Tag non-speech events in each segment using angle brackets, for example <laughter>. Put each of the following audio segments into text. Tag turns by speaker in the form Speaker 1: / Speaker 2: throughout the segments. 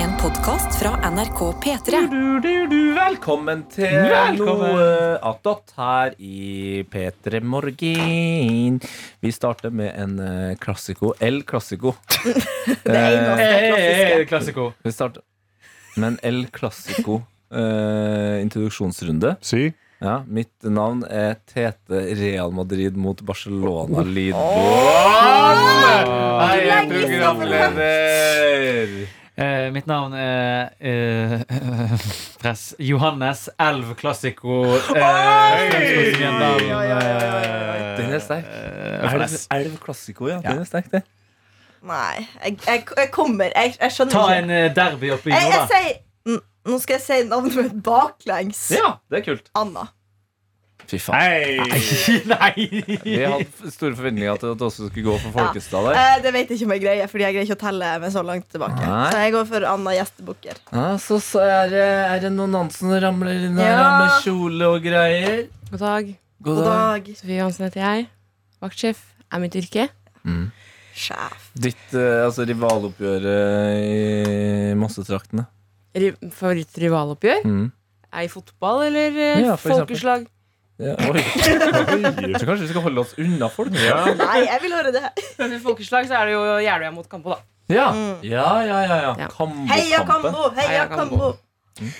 Speaker 1: En podkast fra NRK P3.
Speaker 2: Du, du, du, velkommen til
Speaker 3: Velkommen.
Speaker 2: noe eh, attåt her i P3 Morgen. Vi starter med en eh, klassiko. El Classico.
Speaker 3: Eh,
Speaker 2: Eh,
Speaker 3: eh, eh, klassiko.
Speaker 2: vi starter med en El Classico eh, introduksjonsrunde.
Speaker 4: Si.
Speaker 2: Ja, mitt navn er Tete Real Madrid mot Barcelona Lido.
Speaker 3: Hei,
Speaker 2: jeg er
Speaker 5: legger seg for
Speaker 2: programleder!
Speaker 3: Eh, mitt navn er eh, <laughs> press Johannes Elv Klassiko. eh,
Speaker 5: Oi, oi, oi, oi,
Speaker 2: Den er sterk. Elv, elv Classico, Eh, ja. Den er sterk, det.
Speaker 5: Nei, jeg, jeg, jeg kommer. Jeg, jeg skjønner
Speaker 3: Ta
Speaker 5: ikke.
Speaker 3: en eh, derby oppi
Speaker 5: jeg, jeg
Speaker 3: jorda.
Speaker 5: sier N- Nå skal jeg si navnet mitt baklengs.
Speaker 2: Ja, det er kult.
Speaker 5: Anna.
Speaker 2: Fy faen.
Speaker 4: Hei!
Speaker 3: <laughs> Nei!
Speaker 2: Vi hadde store forventninger til at det også skulle gå for Folkestad der.
Speaker 5: Eh, det vet jeg ikke om jeg greier, Fordi jeg greier ikke å telle meg så langt tilbake.
Speaker 2: Nei.
Speaker 5: Så jeg går for Anna Gjestebukker.
Speaker 2: Ja, så, så er, det, er det noen Nansen som ramler inn her
Speaker 6: Ja.
Speaker 2: da, med kjole og greier.
Speaker 6: God dag.
Speaker 5: God dag,
Speaker 6: Sofie Johansen heter jeg. Vaktsjef er mitt yrke.
Speaker 2: Mm.
Speaker 5: sjef.
Speaker 2: Ditt eh, altså, rivaloppgjøret i Mossetraktene.
Speaker 6: Ri- Favorittrivaloppgjør?
Speaker 2: Mm.
Speaker 6: Er i fotball eller eh,
Speaker 2: Ja, for eksempel.
Speaker 6: <laughs> folkeslag?
Speaker 2: Ja, oi. Så kanskje vi skal holde oss unna folk? Ja,
Speaker 5: Nei, jeg vil høre det.
Speaker 6: For folkeslag så er det jo Jeløya mot Kampo, da.
Speaker 2: ja, ja. ja, ja.
Speaker 6: Ja.
Speaker 5: Mm. Heia
Speaker 2: Kambokampen.
Speaker 5: Kambo! Heia
Speaker 6: Heia Kambo.
Speaker 5: Kambo!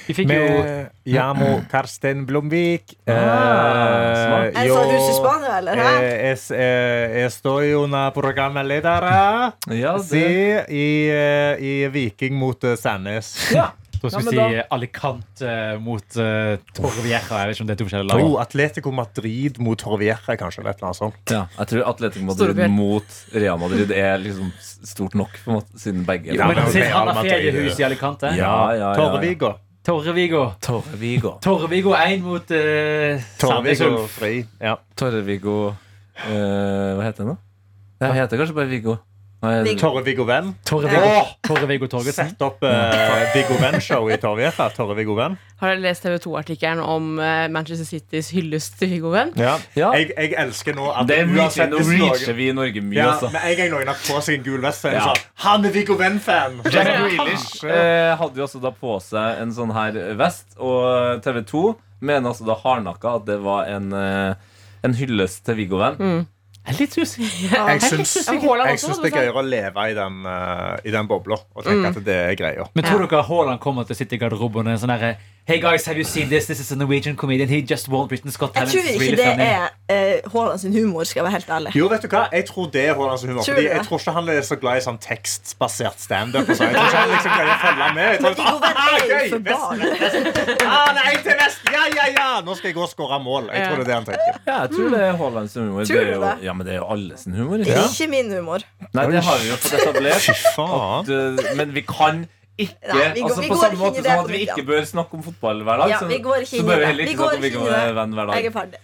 Speaker 3: Vi fikk jo
Speaker 4: Med
Speaker 2: <clears throat>
Speaker 4: Jamo Karsten Blomvik. Eh,
Speaker 2: Ah, smart.
Speaker 5: Er det sånn hus i Spania, eller? hæ?
Speaker 4: eh, es- eh, estoy una programledera.
Speaker 2: Ja,
Speaker 4: Si
Speaker 2: det.
Speaker 4: i, eh, i Viking mot eh, Sandnes.
Speaker 2: Ja.
Speaker 3: Da
Speaker 2: Ja,
Speaker 3: skulle vi
Speaker 2: men
Speaker 3: si eh, Alicante mot uh, Torvieja. Jeg vet ikke om det er to forskjellige lag.
Speaker 4: Oh, Atletico Madrid mot Torvieja, kanskje. Eller et eller annet sånt.
Speaker 2: ja. Jeg tror Atletico Madrid
Speaker 6: Storbjørn.
Speaker 2: mot Real Madrid er liksom stort nok, på en måte, siden begge
Speaker 4: Ja,
Speaker 3: Men
Speaker 4: men
Speaker 3: sitt
Speaker 4: Real
Speaker 3: Anna
Speaker 4: Madrid-
Speaker 3: feriehus i Alicante.
Speaker 2: Ja, ja, ja, ja.
Speaker 4: Torvigo.
Speaker 3: Torreviggo.
Speaker 2: Torvigo.
Speaker 3: Torreviggo 1 mot uh, Sandnes
Speaker 4: Torvigo
Speaker 3: Ulf.
Speaker 4: fri. Ja.
Speaker 2: Torvigo eh, Hva heter den, da? Det heter kanskje bare Viggo. Nei,
Speaker 5: Viggo.
Speaker 4: Torvigo Venn.
Speaker 3: Torreviggo Torreviggo Torgersen.
Speaker 4: Sett opp
Speaker 2: Mm.
Speaker 4: eh, Viggo Venn-show i Torvieja. Torvigo Venn.
Speaker 6: Har dere lest TV 2-artikkelen om eh, Manchester Citys hyllest til Viggo-venn?
Speaker 4: Ja.
Speaker 2: Ja.
Speaker 4: Jeg, jeg elsker nå at
Speaker 2: Det reacher,
Speaker 4: uansett
Speaker 2: nå
Speaker 4: hvis noen-
Speaker 2: reacher vi i Norge mye,
Speaker 4: Ja,
Speaker 2: altså.
Speaker 4: med en gang noen har på seg en gul vest, så er det
Speaker 2: Ja.
Speaker 4: sånn Han er Viggo Venn-fan!
Speaker 2: Jack Grealish eh, hadde jo altså da på seg en sånn her vest, og TV 2 mener altså da hardnakka at det var en, eh, en hyllest til Viggo Venn.
Speaker 5: Mm.
Speaker 3: Jeg er litt usikker.
Speaker 4: Jeg syns,
Speaker 6: Ja, men Haaland
Speaker 4: jeg
Speaker 6: også,
Speaker 4: syns
Speaker 6: hadde
Speaker 4: det
Speaker 6: du
Speaker 4: er gøyere å leve i den, eh, i den bobla og tenke
Speaker 5: Mm.
Speaker 4: at det er greia.
Speaker 3: Men tror dere Haaland kommer til å sitte i garderoben og en sånn herre Hey guys, have you seen this? This is a Norwegian comedian. He just won Britain Scott
Speaker 5: Jeg
Speaker 3: Talent.
Speaker 5: tror
Speaker 3: It's
Speaker 5: ikke
Speaker 3: really
Speaker 5: det
Speaker 3: funny."
Speaker 5: er eh, Haaland sin humor, skal jeg være helt ærlig.
Speaker 4: Jo, vet du hva? Jeg tror det er Haalands humor.
Speaker 5: Tror
Speaker 4: Fordi
Speaker 5: du det?
Speaker 4: jeg tror ikke han er så glad i sånn tekstbasert standup. og sånn. Jeg tror ikke han liksom greier å følge med. Jeg tror, «Ah,
Speaker 5: Viggo Venn er jo
Speaker 4: gøy,
Speaker 5: for barn.
Speaker 4: vest. Ah, nei, til vest! Ja, ja, ja! Nå skal jeg gå og skåre mål. Jeg tror det er det han tenker.
Speaker 2: Ja, jeg tror det er Haalands humor.
Speaker 5: Mm. Tror du
Speaker 2: er jo,
Speaker 5: det?
Speaker 2: Ja, men det er jo alle sin humor.
Speaker 5: Det
Speaker 2: Ikke?
Speaker 5: er
Speaker 2: sant?
Speaker 5: ikke min humor.
Speaker 2: Nei, det har vi jo fått etablert.
Speaker 4: Fy faen.
Speaker 2: Du- eh, Men vi kan ikke
Speaker 5: Nei, vi går-
Speaker 2: altså
Speaker 5: vi
Speaker 2: På
Speaker 5: går
Speaker 2: samme
Speaker 5: ikke inn i
Speaker 2: måte
Speaker 5: det
Speaker 2: som at vi
Speaker 5: komedian.
Speaker 2: ikke bør snakke om fotball hver dag,
Speaker 5: Ja,
Speaker 2: så,
Speaker 5: vi går
Speaker 2: så
Speaker 5: ikke inn i
Speaker 2: bør vi
Speaker 5: det.
Speaker 2: heller
Speaker 5: Vi
Speaker 2: ikke
Speaker 5: går
Speaker 2: snakke om
Speaker 5: ikke
Speaker 2: Viggo
Speaker 5: inn i det.
Speaker 2: Venn hver
Speaker 5: Jeg er
Speaker 2: dag.
Speaker 5: ferdig.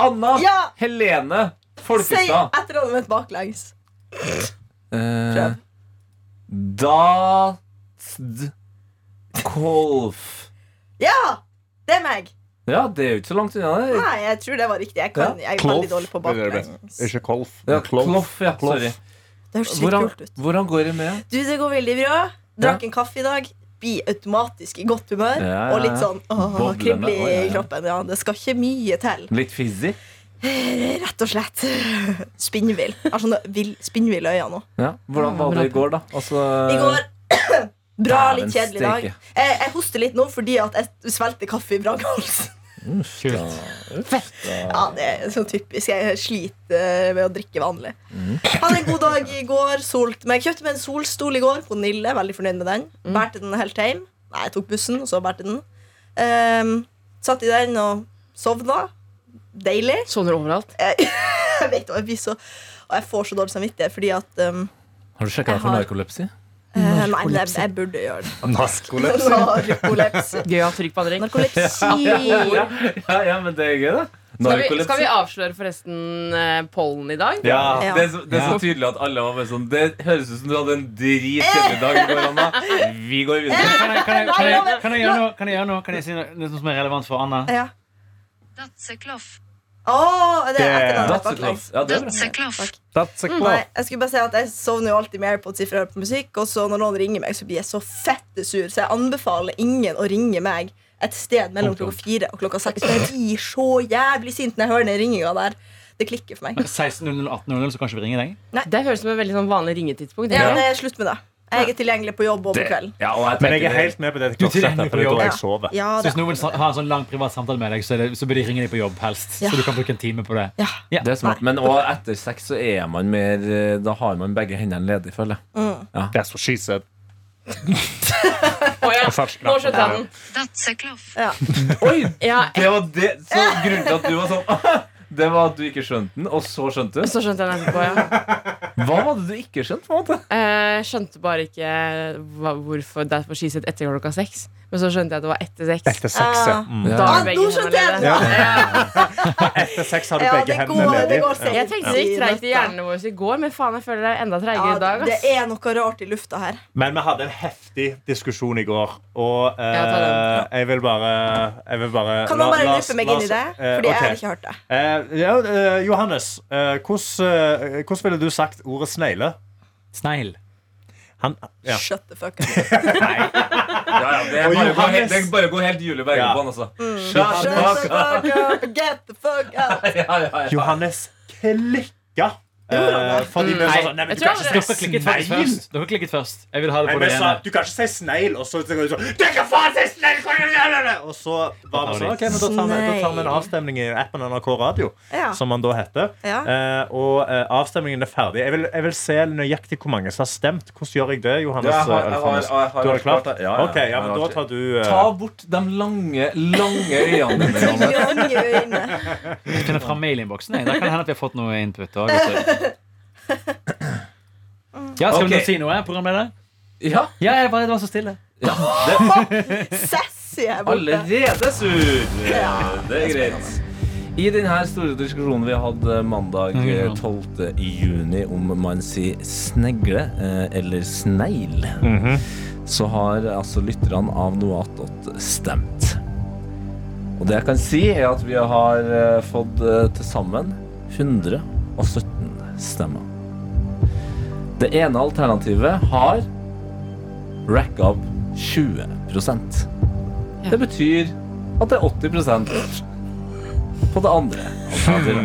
Speaker 2: Anna
Speaker 5: Ja!
Speaker 2: Helene
Speaker 5: Si
Speaker 2: Folkestad.
Speaker 5: etternavnet mitt baklengs.
Speaker 2: Eh, da st- Kolf.
Speaker 5: Ja! Det er meg.
Speaker 2: Ja, det er jo ikke så langt unna. det
Speaker 5: Nei, jeg tror det var riktig. Jeg, kan, jeg er veldig dårlig på
Speaker 4: Det er det
Speaker 5: baklengs.
Speaker 4: beste. Ikke kolf.
Speaker 2: Ja,
Speaker 4: men
Speaker 2: kloff, ja,
Speaker 4: Kloff.
Speaker 2: sorry
Speaker 5: Det høres sykt
Speaker 2: hvordan,
Speaker 5: kult ut.
Speaker 2: hvordan går det med?
Speaker 5: Du, det går veldig bra. Drakk en kaffe i dag. Blir automatisk i godt humør.
Speaker 2: Ja, ja, ja.
Speaker 5: Og litt sånn åh,
Speaker 2: Boblende.
Speaker 5: krible
Speaker 2: Oi, ja,
Speaker 5: i
Speaker 2: ja.
Speaker 5: kroppen. Ja, det skal ikke mye til.
Speaker 2: Litt fizzy?
Speaker 5: Rett og slett. <laughs> Spinnvill. Jeg har sånne vill- spinnville øyne nå.
Speaker 2: Ja. Hvordan var det i går, da? Altså,
Speaker 5: I går <clears throat> Bra,
Speaker 2: Dæven
Speaker 5: litt kjedelig dag.
Speaker 2: steike.
Speaker 5: Jeg, jeg hoster litt nå fordi at jeg svelgte kaffe i vranghalsen. Ja, det er sånn typisk. Jeg sliter eh, med å drikke vanlig. Hadde en god dag i går. Solt meg. Kjøpte meg en solstol i går på Nille. Veldig fornøyd med den. Bærte den helt hjem. Nei, jeg tok bussen, og så bærte den. Ehm, satt i den og sovna. Deilig. <laughs>
Speaker 6: Sånn overalt.
Speaker 5: Jeg vet, og jeg blir så Og jeg får så dårlig samvittighet fordi at um,
Speaker 2: Har du sjekka
Speaker 5: Jeg har-
Speaker 2: narkolepsi?
Speaker 5: eh, Nei, men jeg, jeg burde gjøre det. <laughs>
Speaker 4: Narkolepsi.
Speaker 5: Narkolepsi.
Speaker 6: Gøy å ha trykk på andre.
Speaker 5: Narkolepsi.
Speaker 2: Ja, ja, ja, men det er gøy, da.
Speaker 6: Skal vi, skal vi avsløre forresten eh, pollen i dag?
Speaker 4: Ja.
Speaker 5: Ja.
Speaker 2: Det er, så, det er så tydelig at alle var bare sånn Det høres ut som du hadde en dritkjedelig dag i går, Anna. Vi går videre.
Speaker 3: Kan jeg, kan, jeg, kan, jeg, kan jeg gjøre noe? Kan jeg gjøre noe? Kan jeg si noe, noe som er relevant for Anna?
Speaker 5: Ja.
Speaker 7: Datsekloff.
Speaker 5: Å, Åh, er det
Speaker 4: Det-
Speaker 5: etternavnet
Speaker 2: That's a
Speaker 5: baklengs?
Speaker 2: close. Ja, det er bra.
Speaker 7: That's a klaff.
Speaker 4: That's a
Speaker 5: Nei,
Speaker 4: clap.
Speaker 5: jeg skulle bare si at jeg sovner jo alltid mer på et sifferhør på musikk, og så når noen ringer meg, så blir jeg så fette sur, så jeg anbefaler ingen å ringe meg et sted mellom klokka fire og klokka seks. for Jeg blir så jævlig sint når jeg hører den ringinga der. Det klikker for meg.
Speaker 3: 16.00, 18.00, så kanskje vi ringer deg.
Speaker 6: Det høres ut som et veldig sånn vanlig ringetidspunkt.
Speaker 5: Ja,
Speaker 6: ikke
Speaker 5: det
Speaker 6: det?
Speaker 5: er slutt med det. Jeg er tilgjengelig på jobb og på kvelden.
Speaker 2: Ja, og jeg
Speaker 4: Men jeg er
Speaker 2: tenker-
Speaker 4: helt med på det
Speaker 3: trenger
Speaker 4: klokkeslettet,
Speaker 3: ikke
Speaker 4: for det er da
Speaker 5: jobbe.
Speaker 4: jeg sover.
Speaker 5: Ja,
Speaker 3: Så
Speaker 5: det.
Speaker 3: hvis noen sa- har en sånn lang privat samtale med deg, så, er det, så bør de ringe deg på jobb helst.
Speaker 5: Ja.
Speaker 3: Så du kan bruke en time på det.
Speaker 5: Ja.
Speaker 2: Det er smart, Men også etter sex så er man mer eh, Da har man begge hendene ledig, føler jeg.
Speaker 4: Det er så skyset.
Speaker 6: Å, ja. Nå skjønte jeg den.
Speaker 7: That's a klaff.
Speaker 6: Ja,
Speaker 2: Det var det, så grunnen til at du var sånn <laughs> Det var at du ikke skjønte den, og så skjønte du.
Speaker 6: så skjønte jeg den etterpå, ja.
Speaker 2: Hva var det du ikke skjønte? på en måte?
Speaker 6: Eh, skjønte bare ikke hva, hvorfor det er for skiset etter klokka seks. Men så skjønte jeg at det var etter seks.
Speaker 4: Etter sex, ja.
Speaker 5: Ah.
Speaker 4: Mm.
Speaker 6: Da
Speaker 5: Ah,
Speaker 6: er begge
Speaker 5: nå
Speaker 6: hendene
Speaker 5: skjønte jeg
Speaker 6: ledige.
Speaker 5: det.
Speaker 4: Etter sex har du
Speaker 5: Ja,
Speaker 4: begge
Speaker 5: det
Speaker 4: hendene
Speaker 5: går, det
Speaker 4: ledige.
Speaker 5: går
Speaker 6: Jeg tenkte det gikk treigt i hjernen vår i går, men faen, jeg føler det er enda treigere
Speaker 5: Ja,
Speaker 6: i dag.
Speaker 5: det
Speaker 6: Ass.
Speaker 5: er noe rart i lufta her.
Speaker 4: Men vi hadde en heftig diskusjon i går, og eh,
Speaker 6: Ja, ta den. Ja.
Speaker 4: jeg vil bare, jeg vil bare
Speaker 5: Kan noen
Speaker 4: la-
Speaker 5: bare
Speaker 4: la oss-
Speaker 5: dyppe meg
Speaker 4: la
Speaker 5: inn i
Speaker 4: oss-
Speaker 5: det?
Speaker 4: eh,
Speaker 5: Fordi jeg
Speaker 4: ok.
Speaker 5: har ikke hørt det.
Speaker 4: Eh, ja, eh, Johannes, eh, hvordan, eh, hvordan ville du sagt ordet snegle?
Speaker 3: Sneil.
Speaker 4: Han, ja.
Speaker 5: Shut the fuck up.
Speaker 2: Ja, ja, det, er
Speaker 4: Og
Speaker 2: bare å gå
Speaker 4: Johannes- Mm.
Speaker 2: helt, det er bare å gå helt Julie Bergen
Speaker 4: Ja.
Speaker 2: på han, altså.
Speaker 5: Shut
Speaker 2: Shut
Speaker 5: the
Speaker 2: up.
Speaker 5: fuck up. Get the fuck
Speaker 4: <laughs>
Speaker 5: up.
Speaker 2: Ja, ja, ja.
Speaker 4: Johannes klikka. Eh, fordi vi
Speaker 5: Mm.
Speaker 4: sa sånn Nei, men
Speaker 6: Jeg
Speaker 4: du
Speaker 6: tror
Speaker 4: kan
Speaker 6: aldri-
Speaker 4: ikke
Speaker 3: Dere
Speaker 4: si
Speaker 3: klikket faktisk
Speaker 4: sneil.
Speaker 3: først. Dere klikket først. Jeg vil ha det
Speaker 4: Nei,
Speaker 3: på
Speaker 4: vi
Speaker 3: det
Speaker 4: sa
Speaker 3: rene.
Speaker 4: du kan ikke si sneil, og så tenker du sånn Du kan faen si sneil! kom igjen, la, la, la!» Og så var vi sånn OK, men da tar vi, da tar vi en avstemning i appen NRK Radio,
Speaker 5: Ja.
Speaker 4: som han da heter.
Speaker 5: Ja.
Speaker 4: Eh, og eh, avstemningen er ferdig. Jeg vil, jeg vil se nøyaktig hvor mange som har stemt. Hvordan gjør jeg det, Johannes?
Speaker 2: Ja, jeg har- jeg har-
Speaker 4: Alfanes?
Speaker 2: jeg har-
Speaker 4: du har det klart?
Speaker 2: Ja, ja, ja.
Speaker 4: Ok, ja, men da tar du eh,
Speaker 2: Ta bort de lange, lange øynene dine.
Speaker 5: <laughs>
Speaker 2: Johanne.
Speaker 5: Lange øyne.
Speaker 3: Jeg finner fram mailinnboksen. jeg. Da kan det hende at vi har fått noe input. også, vet
Speaker 5: <laughs>
Speaker 3: du. Ja, skal
Speaker 2: Ok.
Speaker 3: vi nå si noe, programleder?
Speaker 2: Ja,
Speaker 3: Ja, jeg bare, det var så stille.
Speaker 5: Sassy er borte.
Speaker 2: allerede sur! Det er greit. I denne store diskusjonen vi hadde mandag eh, 12. juni om man sier snegle eh, eller snegl, så har altså lytterne av noe stemt. Og det jeg kan si, er at vi har eh, fått eh, til sammen 117 stemmer. Det ene alternativet har rack up 20 Det betyr at det er 80 på det andre alternativet.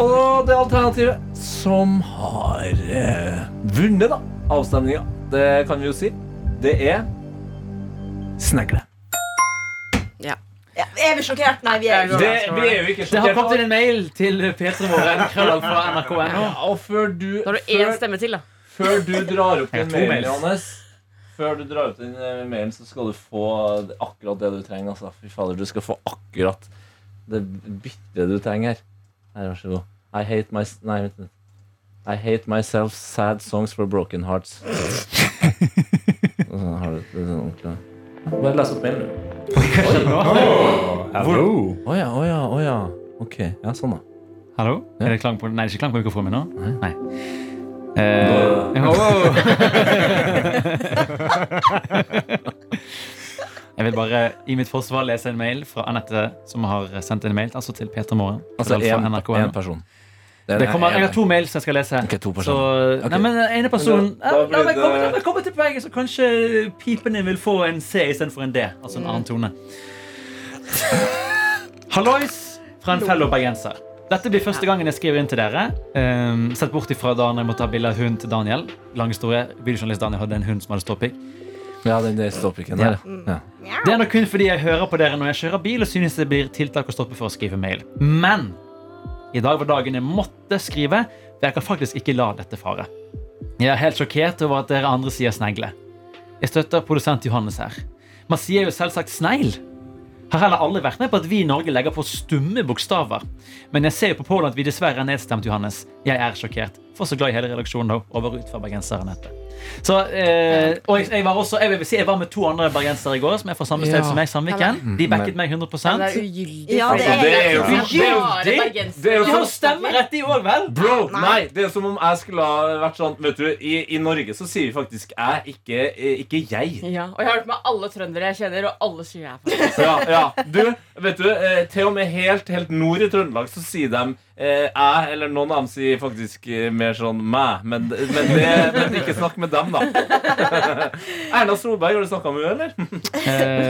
Speaker 2: Og det alternativet som har eh, vunnet da, avstemninga, det kan vi jo si, det er snegle.
Speaker 5: Ja, er vi sjokkert? Nei, vi er ikke.
Speaker 6: Det- vi er
Speaker 2: jo ikke
Speaker 3: Det har kommet inn en mail til p3morgen fra nrk.no.
Speaker 2: Og før du,
Speaker 6: Da har du én
Speaker 2: før,
Speaker 6: stemme til, da.
Speaker 2: før du drar opp den
Speaker 3: to
Speaker 2: mailen,
Speaker 3: mails.
Speaker 2: Johannes før du drar opp den eh, mailen, så skal du få akkurat det du trenger. Altså. Fy fader, du skal få akkurat det bitte du trenger. Her, vær så god. I hate my... Nei, vent litt. I hate myself, sad songs for broken hearts. Og så har du det sånn ordentlig. Bare les opp mailen, du.
Speaker 4: Hallo?
Speaker 2: Å ja, å ja, å ja. Ok, ja, sånn da.
Speaker 3: Hallo?
Speaker 2: Ja.
Speaker 3: Er det klang på Nei, det er ikke klang på mikrofonen min nå? Nei. Eh, wow. <laughs> Jeg vil bare i mitt forsvar lese en mail fra Anette, som har sendt en mail altså til Peter Morgen.
Speaker 2: Altså,
Speaker 3: Eller fra
Speaker 2: en,
Speaker 3: NRK.
Speaker 2: en person. Det
Speaker 3: Det kommer, jeg har to mails jeg skal lese.
Speaker 2: Ok, to
Speaker 3: Så,
Speaker 2: personer. Ok.
Speaker 3: nei, men eh, ene personen
Speaker 2: Da- da
Speaker 3: Ja,
Speaker 2: blir
Speaker 3: nei, men
Speaker 2: det-
Speaker 3: kom- la meg komme til poenget, så kanskje pipene vil få en C istedenfor en D. Altså en annen tone. <laughs> Hallois fra en fellow bergenser. Dette blir første gangen jeg skriver inn til dere. Um, sett bort ifra da når jeg måtte ta bilde av hunden til Daniel. Lang historie. Videojournalist Daniel hadde en hund som hadde ståpikk.
Speaker 2: Ja, den der stoppikken der. Ja.
Speaker 3: Det er nok kun fordi jeg hører på dere når jeg kjører bil og synes det blir tiltak å stoppe for å skrive mail. Men i dag var dagen jeg måtte skrive, for jeg kan faktisk ikke la dette fare. Jeg er helt sjokkert over at dere andre sier snegle. Jeg støtter produsent Johannes her. Man sier jo selvsagt snegl. Har heller aldri vært med på at vi i Norge legger på stumme bokstaver. Men jeg ser jo på Polen at vi dessverre er nedstemt, Johannes. Jeg er sjokkert. For så glad i hele redaksjonen da, over utfor bergenseren dette. Så, eh, og jeg, jeg, var også, jeg, vil si, jeg var med to andre bergensere i går, som er fra samme sted
Speaker 6: Ja.
Speaker 3: som meg, Sandviken. De backet meg 100
Speaker 6: Det er
Speaker 3: De
Speaker 6: ugyldig.
Speaker 5: Ja, det
Speaker 2: Altså, det er jo-
Speaker 6: faktisk.
Speaker 2: det er jo-
Speaker 6: Bare
Speaker 3: det-
Speaker 6: bergensere.
Speaker 2: det er jo
Speaker 3: har jo stemmerett, de òg, vel?
Speaker 2: Bro,
Speaker 5: Nei.
Speaker 2: nei, det er som om jeg skulle ha vært sånn Vet du, i, i Norge så sier vi faktisk jeg, ikke, eh, ikke jeg.
Speaker 6: Ja, og jeg har hørt med alle trøndere jeg kjenner, og alle sier jeg er fra Bergen.
Speaker 2: Ja, ja. Du, vet du, eh, til og med helt, helt nord i Trøndelag så sier de eh, jeg, eller noen av dem sier faktisk eh, mer sånn meg, men, men, det, men ikke snakk med dem, da. <laughs> Erna Solberg, har du snakka med henne, eller? <laughs>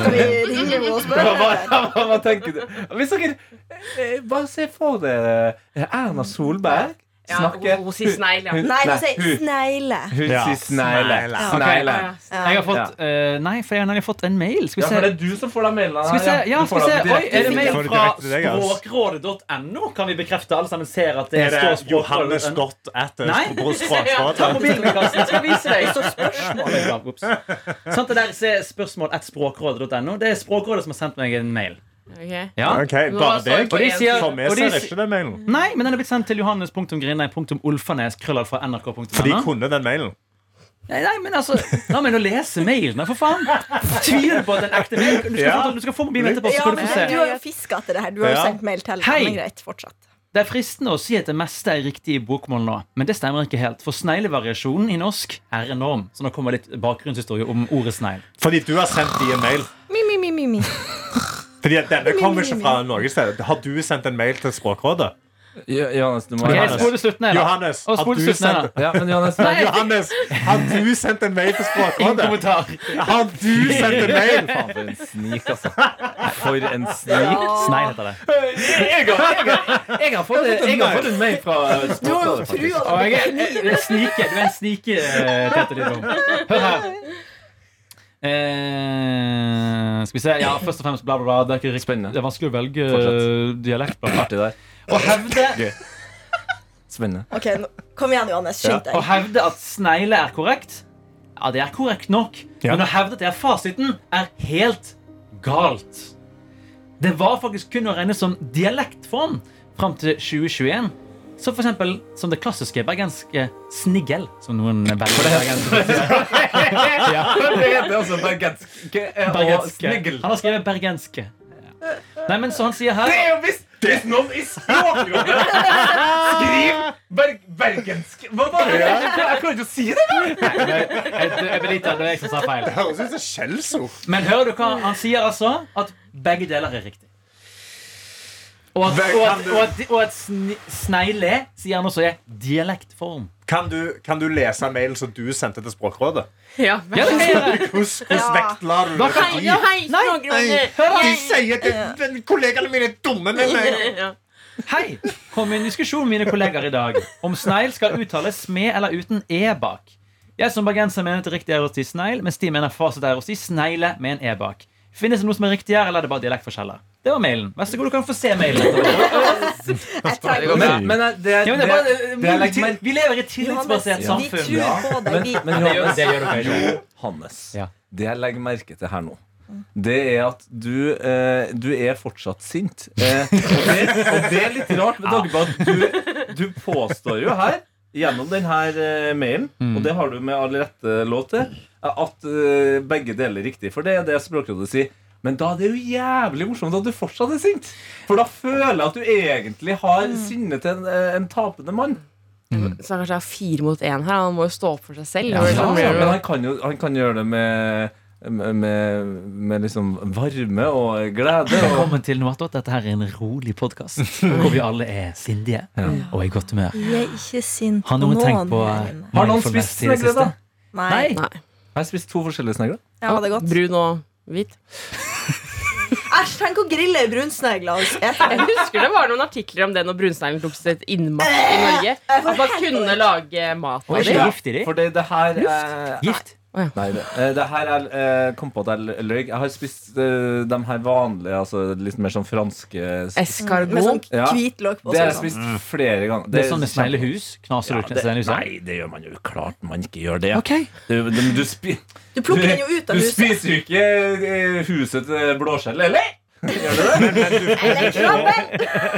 Speaker 5: Skal vi ringe henne og spørre?
Speaker 2: Hva, hva,
Speaker 5: eller?
Speaker 2: hva, hva tenker du? Hvis dere eh, Bare se for dere eh, Erna Solberg
Speaker 6: Ja,
Speaker 2: snakke
Speaker 6: hun, hun sier snegl, ja.
Speaker 5: Nei,
Speaker 2: Nei,
Speaker 5: hun sier
Speaker 2: hun-
Speaker 5: snegle.
Speaker 2: Hun
Speaker 4: Ja,
Speaker 2: sier snegle.
Speaker 4: snegle.
Speaker 2: Snegle.
Speaker 6: Ja,
Speaker 3: Jeg
Speaker 5: Ja.
Speaker 3: har fått eh, Nei, for jeg har nemlig fått en mail. Skal
Speaker 2: Ja, for
Speaker 3: vi
Speaker 2: det
Speaker 3: se.
Speaker 2: er du som får de mailene.
Speaker 3: Skal vi se.
Speaker 2: her,
Speaker 3: Ja,
Speaker 2: Du får
Speaker 3: skal vi se.
Speaker 2: dem
Speaker 3: Oi,
Speaker 2: direkte
Speaker 3: er det
Speaker 2: til
Speaker 3: mail
Speaker 4: Får det
Speaker 3: fra
Speaker 4: direkte til deg, ass.
Speaker 3: språkrådet.no? Kan vi bekrefte alle sammen ser at det
Speaker 4: Er det
Speaker 3: står
Speaker 4: Johannes
Speaker 3: språkrådet.no?
Speaker 4: Dott at eh,
Speaker 3: Nei.
Speaker 4: <laughs>
Speaker 3: Ta
Speaker 4: Brostrådrådet?
Speaker 3: mobilen, Karsten. Skal jeg vise deg. Det står spørsmål. Ja, ups. Sant, det der se spørsmål at språkrådet.no. Det er Språkrådet som har sendt meg en mail.
Speaker 6: Ok.
Speaker 3: Ja.
Speaker 4: Ok, bare deg?
Speaker 6: Og de sier-
Speaker 4: For vi
Speaker 3: og de
Speaker 4: ser
Speaker 3: sier-
Speaker 4: ikke den mailen.
Speaker 3: Nei, men den er blitt sendt til johannes.grindei.olfanes.nrk.no.
Speaker 4: For de kunne den mailen.
Speaker 3: Nei, nei, men altså, la meg nå lese mailen, da, for faen! Tviler du på at det er en ekte mail? Du skal,
Speaker 4: Ja.
Speaker 3: få, du skal få mobilen etterpå, så
Speaker 5: Ja,
Speaker 3: skal du
Speaker 5: men
Speaker 3: få se.
Speaker 5: du har jo fiska etter det her. Du har jo
Speaker 4: Ja.
Speaker 5: sendt mail til
Speaker 3: Hei.
Speaker 5: henne. Men greit, fortsatt.
Speaker 3: Det er fristende å si at det meste er riktig i bokmål nå, men det stemmer ikke helt. For sneglevariasjonen i norsk er enorm. Så nå kommer litt bakgrunnshistorie om ordet snegl.
Speaker 4: Fordi du har sendt de en mail.
Speaker 5: Mi, mi, mi, mi, mi.
Speaker 4: Fordi at Denne kommer ikke fra noe sted. Har du sendt en mail til Språkrådet?
Speaker 2: Jo- Johannes, du må
Speaker 3: Ok,
Speaker 4: Johannes.
Speaker 3: spol til slutten her, da.
Speaker 4: Johannes,
Speaker 3: Og
Speaker 4: har
Speaker 3: spol til
Speaker 4: du
Speaker 3: slutten her,
Speaker 4: sendt-
Speaker 3: da.
Speaker 2: Ja, men Johannes
Speaker 3: Nei,
Speaker 4: Johannes, har du sendt en mail til
Speaker 3: Ingen
Speaker 4: Språkrådet?
Speaker 3: kommentar.
Speaker 4: Har du sendt en mail?
Speaker 2: Faen, for en snik, altså. For en snik.
Speaker 3: Snegl heter det.
Speaker 2: <laughs> Jeg har, fått, en mail fra
Speaker 5: Du har jo
Speaker 3: Og
Speaker 5: trua på
Speaker 3: jeg er, jeg er snike. Du er en snike, eh, Tete Lidbom. Hør her. Eh, skal vi se. Ja, først og fremst bla, bla, bla. Det er, ikke riktig.
Speaker 2: Spennende.
Speaker 3: det er vanskelig å velge
Speaker 2: Fortsett.
Speaker 3: eh, dialekt. Bla, bla.
Speaker 2: Artig der.
Speaker 3: Å hevde,
Speaker 2: Spennende.
Speaker 5: Ok, nå- Kom igjen, Johannes. Skynd
Speaker 3: å
Speaker 5: deg.
Speaker 3: hevde at snegle er korrekt Ja, det er korrekt nok.
Speaker 4: Ja.
Speaker 3: Men å hevde at det er fasiten, er helt galt. Det var faktisk kun å regne som dialektform fram til 2021. Så for eksempel som det klassiske bergenske sniggel, som noen bergensere
Speaker 2: Det heter altså bergensk og
Speaker 3: Bergenske.
Speaker 2: snegl.
Speaker 3: Han har skrevet bergenske. Nei, men så han sier her
Speaker 2: Det er jo hvis, hvis noen i Språkrådet skriver ber bergensk Hva da? Jeg klarer ikke å si det!
Speaker 3: Jeg jeg beliter, det var jeg som sa feil.
Speaker 4: Høres ut som skjellsord.
Speaker 3: Men hører du hva han sier altså? At begge deler er riktig. Og at, og at, og at, og at sni- snegle, sier han også, er dialektform.
Speaker 4: Kan du, kan du lese mailen som du sendte til Språkrådet?
Speaker 6: Ja,
Speaker 3: Ja, det kan jeg gjøre.
Speaker 4: Hvordan, hvordan vektla du det?
Speaker 6: Hei, ja, hei, Språkrådet.
Speaker 3: Hør da.
Speaker 4: De sier at den- kollegaene mine er dumme med meg.
Speaker 6: Ja.
Speaker 3: Hei! Kom i en diskusjon med mine kolleger i dag om snegl skal uttales med eller uten e bak. Jeg som bergenser mener at det riktige er å si snegl, mens de mener fasit er å si snegle med en e bak. Finnes det noe som er riktig her, eller er det bare dialektforskjeller? Det var mailen. Vær så god, du kan få se mailen. etterpå.
Speaker 5: Jeg trenger
Speaker 2: Men, men eh, det, det,
Speaker 3: Ja, men det er bare,
Speaker 2: det er like-
Speaker 3: vi lever i et
Speaker 5: Johannes,
Speaker 3: tillitsbasert
Speaker 5: vi
Speaker 3: samfunn.
Speaker 5: tror på deg. Vi,
Speaker 2: Men Johannes,
Speaker 3: det gjør du
Speaker 2: Johannes
Speaker 3: Ja.
Speaker 2: det jeg legger merke til her nå, det er at du, eh, du er fortsatt sint. Eh, og, det, og det er litt rart med tanke på at du, du påstår jo her, gjennom denne mailen, og det har du med all rette lov til, at eh, begge deler er riktig. For det er det Språkrådet sier. Men da er det jo jævlig morsomt at du fortsatt er sint. For da føler jeg at du egentlig har sinnet til en, eh, en tapende mann.
Speaker 6: Så kanskje det er fire mot én her. Han må jo stå opp for seg
Speaker 2: Mm.
Speaker 6: selv.
Speaker 2: Ja,
Speaker 6: Og så blir det
Speaker 2: men
Speaker 6: jo- sånn.
Speaker 2: han kan jo han kan gjøre det med med, med liksom varme og glede. Og,
Speaker 3: Velkommen til Noatot. Dette her er en rolig podkast hvor vi alle er sindige og i godt humør.
Speaker 5: vi er ikke sinte
Speaker 3: Har noen tenkt på eh,
Speaker 5: her inne.
Speaker 2: har noen spist snegler, da?
Speaker 5: Nei.
Speaker 3: Nei.
Speaker 6: Nei.
Speaker 2: Jeg har spist to forskjellige snegler.
Speaker 5: Jeg hadde gått.
Speaker 6: Brun og hvit.
Speaker 5: Æsj, tenk å grille brunsnegler. altså. Jeg
Speaker 6: Jeg husker det var noen artikler om det når brunsneglen tok sitt innmatt i Norge. At man kunne lage mat av
Speaker 3: Oi,
Speaker 6: det.
Speaker 3: det er gift i de.
Speaker 2: For det, det her er-
Speaker 3: Gift?
Speaker 2: Nei, det, eh, det her er eh, kom på at jeg l- løy. Jeg har spist eh, de her vanlige, altså litt mer sånn franske s-
Speaker 5: Med sånn
Speaker 6: Eskargot.
Speaker 2: Ja.
Speaker 5: hvit løk på.
Speaker 2: Det har jeg
Speaker 5: sånn.
Speaker 2: spist flere ganger.
Speaker 3: Det er sånn med sneglehus? Knaser du
Speaker 2: det,
Speaker 3: sneglehuset?
Speaker 2: nei, det gjør man jo klart man ikke gjør det. Du, du, du, spi,
Speaker 5: Du plukker den jo ut av
Speaker 2: du
Speaker 5: huset.
Speaker 2: spiser jo ikke eh, huset til blåskjell, eller?
Speaker 4: Men, men, du,
Speaker 5: Eller krabbe!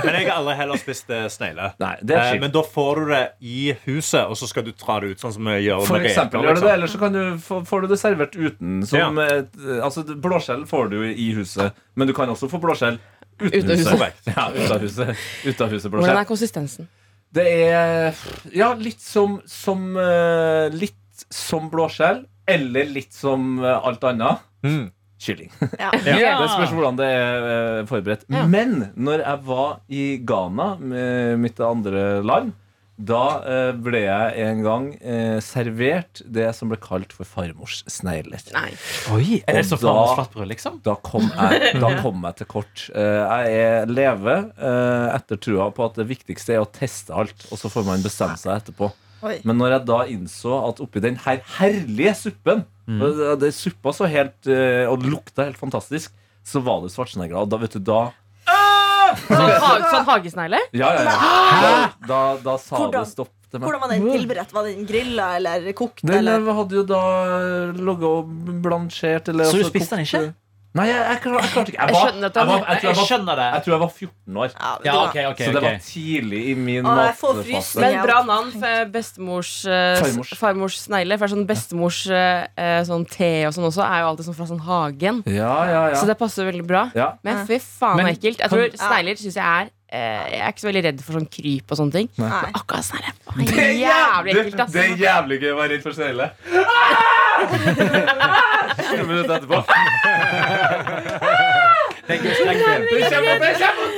Speaker 4: men jeg har aldri heller spist eh, snegle.
Speaker 2: Nei, det er
Speaker 4: Eh,
Speaker 2: kjipt.
Speaker 4: Men da får du det i huset, og så skal du dra det ut. Sånn som vi gjør
Speaker 2: For
Speaker 4: med
Speaker 2: eksempel
Speaker 4: reker,
Speaker 2: gjør du det,
Speaker 4: liksom.
Speaker 2: eller så kan du, få- får du det servert uten. Som,
Speaker 4: Ja.
Speaker 2: et, altså, blåskjell får du i huset, men du kan også få blåskjell uten,
Speaker 6: Uten huset.
Speaker 2: Korrekt. Ja, ut av huset. Ut av huset
Speaker 6: Hvordan
Speaker 2: blåskjell.
Speaker 6: er konsistensen?
Speaker 2: Det er ja, litt som, som eh, Litt som blåskjell, eller litt som eh, alt annet.
Speaker 4: Mm.
Speaker 2: Kylling.
Speaker 5: Ja.
Speaker 3: Ja.
Speaker 2: Det spørs hvordan det er eh, forberedt.
Speaker 6: Ja.
Speaker 2: Men når jeg var i Ghana, med mitt andre land, da eh, ble jeg en gang eh, servert det som ble kalt for farmors snegler.
Speaker 6: Nei.
Speaker 3: Oi, Er det så
Speaker 2: Og da-
Speaker 3: farens flatbrød, liksom?
Speaker 2: Da kom jeg, da kom jeg til kort. Eh, Jeg er leve eh, etter trua på at det viktigste er å teste alt, og så får man bestemme seg etterpå.
Speaker 5: Oi.
Speaker 2: Men når jeg da innså at oppi den her herlige suppen og det, det Suppa så helt eh, og lukta helt fantastisk, så var det svartsnegler. Og da, vet du, da
Speaker 6: Sånn, hag, sånn hagesnegle?
Speaker 2: Ja, ja, ja. Da, da, da sa
Speaker 5: Hvordan?
Speaker 2: det stopp til meg.
Speaker 5: Hvordan var den tilberedt? Var den grilla eller kokt?
Speaker 2: Den
Speaker 5: Eller?
Speaker 2: eh, hadde jo da ligget og blansjert eller
Speaker 3: Så du
Speaker 2: altså
Speaker 3: spiste den
Speaker 2: kokt-
Speaker 3: ikke?
Speaker 2: Nei, jeg, jeg, klar- jeg klarte ikke. Jeg,
Speaker 6: Jeg
Speaker 2: var,
Speaker 6: skjønner at
Speaker 2: jeg,
Speaker 6: han-
Speaker 2: var, jeg, tror jeg,
Speaker 3: Jeg
Speaker 2: var,
Speaker 3: skjønner det.
Speaker 2: jeg tror jeg var 14 år.
Speaker 5: Ja, vet
Speaker 3: Ja,
Speaker 5: du hva?
Speaker 3: ok, ok,
Speaker 2: Så det var
Speaker 3: ok
Speaker 2: tidlig i min
Speaker 5: Ah, Å, jeg får
Speaker 2: matfase.
Speaker 5: frysning.
Speaker 6: Men bra navn for bestemors eh,
Speaker 2: Farmors.
Speaker 6: s- farmors snegle. For det er sånn bestemors eh, eh, sånn te og sånn også er jo alltid sånn fra sånn hagen.
Speaker 2: Ja, ja,
Speaker 6: Så
Speaker 2: ja.
Speaker 6: det passer veldig bra.
Speaker 2: ja.
Speaker 6: Men fy faen
Speaker 3: Men
Speaker 6: så ekkelt. Jeg tror snegler synes jeg er eh, Jeg er ikke så veldig redd for sånn kryp og sånne ting.
Speaker 5: Nei.
Speaker 6: Akkurat snegle det er jævlig ekkelt, ass.
Speaker 2: Det er jævlig gøy å være redd for snegler. Sju minutter etterpå.
Speaker 3: Det er god skrekkfilm.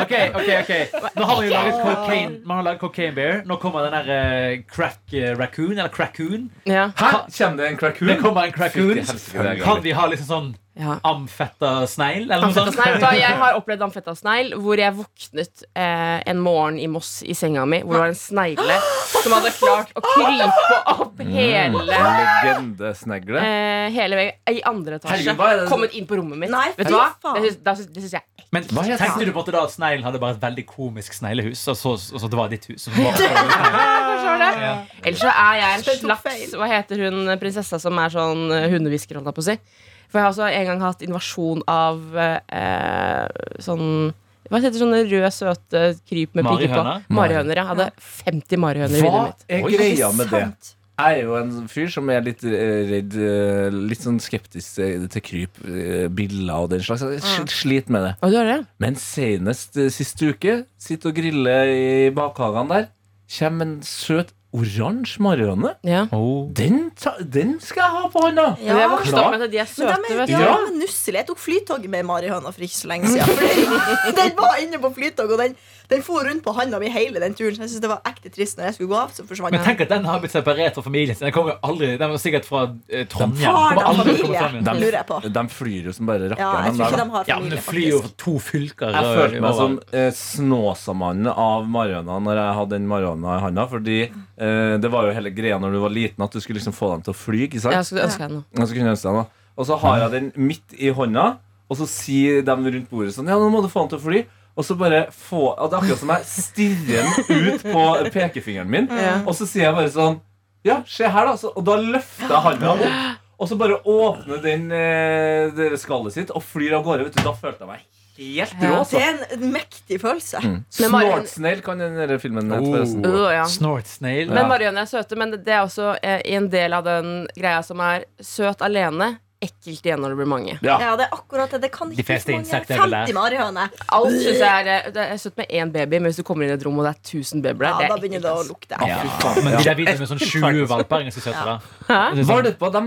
Speaker 3: Ok, ok, ok Nå har man jo laget cocaine Man har laget cocaine bear Nå kommer den der eh, crack eh, raccoon Eller crackoon
Speaker 6: Ja.
Speaker 2: Hæ? Kommer det en
Speaker 3: Det
Speaker 2: crackoon?
Speaker 3: kommer en crackoon
Speaker 2: Fytti helsike, det er gøy.
Speaker 3: Kan vi ha liksom sånn
Speaker 6: Ja.
Speaker 3: amfetta sneil Eller noe sånt
Speaker 6: Amfettasneil. Vet du hva, Jeg har opplevd amfettasneil hvor jeg våknet eh, en morgen i Moss i senga mi, hvor det var en snegle som hadde klart å krype opp hele
Speaker 2: Legendesnegle.
Speaker 6: eh, Hele veien i andre etasje.
Speaker 2: Herregud, hva er det-
Speaker 6: Kommet inn på rommet mitt.
Speaker 5: Nei,
Speaker 6: Vet
Speaker 5: fy
Speaker 6: du hva?
Speaker 5: faen.
Speaker 6: Det syns- da syns- Det syns jeg er ekkelt.
Speaker 3: Men
Speaker 2: Hva heter
Speaker 3: tenkte
Speaker 2: den?
Speaker 3: du på at da at sneilen hadde bare et veldig komisk sneilehus Og så, og så det var ditt hus <laughs> og så var det-
Speaker 6: Kanskje var det?
Speaker 3: Ja.
Speaker 6: Ellers så er jeg en
Speaker 5: Den tok
Speaker 6: slags Hva heter hun prinsessa som er sånn eh, hundehvisker, holdt jeg på å si. For jeg har også en gang hatt invasjon av eh, sånn hva heter sånne røde, søte kryp med piker på?
Speaker 3: Marihøne?
Speaker 6: Marihøner. Jeg hadde 50 marihøner i
Speaker 2: Hva
Speaker 6: vinduet mitt.
Speaker 2: er
Speaker 3: Oi.
Speaker 2: greia med det?
Speaker 5: Sant.
Speaker 2: Jeg er jo en sånn fyr som er litt eh, redd eh, Litt sånn skeptisk til til kryp, eh, biller og den slags. Jeg sl-
Speaker 5: Mm.
Speaker 2: sliter med det.
Speaker 6: Å, du har det?
Speaker 2: Men senest eh, sist uke, sitter og griller i bakhagen der, kommer en søt oransje marihøne.
Speaker 6: Ja.
Speaker 3: Oh.
Speaker 2: Den, ta- den skal jeg ha på hånda!
Speaker 5: Ja.
Speaker 6: Jeg vokste
Speaker 2: Klart.
Speaker 6: opp med at de er
Speaker 5: Men
Speaker 6: søte,
Speaker 5: de er,
Speaker 6: vet du.
Speaker 5: ja,
Speaker 2: Ja.
Speaker 5: de er nusselige. Jeg tok flytoget med marihøna for ikke så lenge siden. Fordi <laughs> den var inne på flytoget, og den, den for rundt på handa mi hele den turen. Så jeg synes det var ekte trist når jeg skulle gå av. Så forsvant
Speaker 3: Men
Speaker 5: den.
Speaker 3: tenk at den har blitt separert fra familien sin Den kommer aldri Den var sikkert fra eh, Trondheim
Speaker 5: Har
Speaker 3: Kommer
Speaker 5: de
Speaker 3: aldri til å komme
Speaker 5: familie?
Speaker 3: fram igjen.
Speaker 2: De-
Speaker 5: Lurer jeg på.
Speaker 2: De flyr jo som bare
Speaker 5: Ja,
Speaker 2: rakkeren.
Speaker 5: jeg tror
Speaker 2: de der,
Speaker 5: ikke
Speaker 2: da.
Speaker 5: de har
Speaker 3: Ja, men det
Speaker 5: familie,
Speaker 3: flyr jo
Speaker 5: faktisk.
Speaker 3: fra to fylker
Speaker 2: Jeg
Speaker 3: og-
Speaker 2: følte meg
Speaker 3: overalt.
Speaker 2: som eh, Snåsamannen av Mariana når jeg hadde den Mariana i handa. Fordi eh, det var jo hele greia når du var liten, at du skulle liksom få dem til å fly. Ikke sant?
Speaker 6: Jeg skulle ønske jeg noe.
Speaker 2: Og så kunne jeg ønske deg den, da. Og så har jeg den midt i hånda, og så sier de rundt bordet sånn Ja, nå må du få den til å fly. Og så bare få ja, Det er akkurat som jeg stirrer den ut på pekefingeren min,
Speaker 6: Ja.
Speaker 2: og så sier jeg bare sånn Ja, se her, da. Så, og da løfter jeg hånda opp. Og så bare åpner den eh, det skallet sitt og flyr av gårde. Vet du, da følte jeg meg helt rå.
Speaker 6: Ja.
Speaker 2: Altså.
Speaker 5: Det er en mektig følelse.
Speaker 2: Mm.
Speaker 6: Men Marion-
Speaker 2: Snortsnail kan den der filmen hete,
Speaker 3: Oh.
Speaker 2: forresten.
Speaker 6: Øh, ja.
Speaker 3: Snort snail
Speaker 6: Men marihøner er søte, men det er også eh, en del av den greia som er søt alene, ekkelt igjen når det blir mange.
Speaker 5: Ja, det er akkurat det. Det kan ikke
Speaker 3: fleste
Speaker 5: så mange.
Speaker 3: insekter er vel der.
Speaker 5: 50 marihøner.
Speaker 6: Alt synes jeg er, eh, det er søtt med én baby, men hvis du kommer inn i et rom og det er 1000 babyer
Speaker 5: Ja,
Speaker 6: der, det
Speaker 5: da
Speaker 6: er
Speaker 5: begynner
Speaker 6: ekkelt.
Speaker 5: det å
Speaker 6: ass.
Speaker 5: lukte.
Speaker 2: Ja, fy faen.
Speaker 3: Men de
Speaker 2: Ja.
Speaker 3: der videoene med sånn 20 valper er ganske søte. da. Det
Speaker 6: Hæ?
Speaker 3: er sånn-
Speaker 2: Valper de,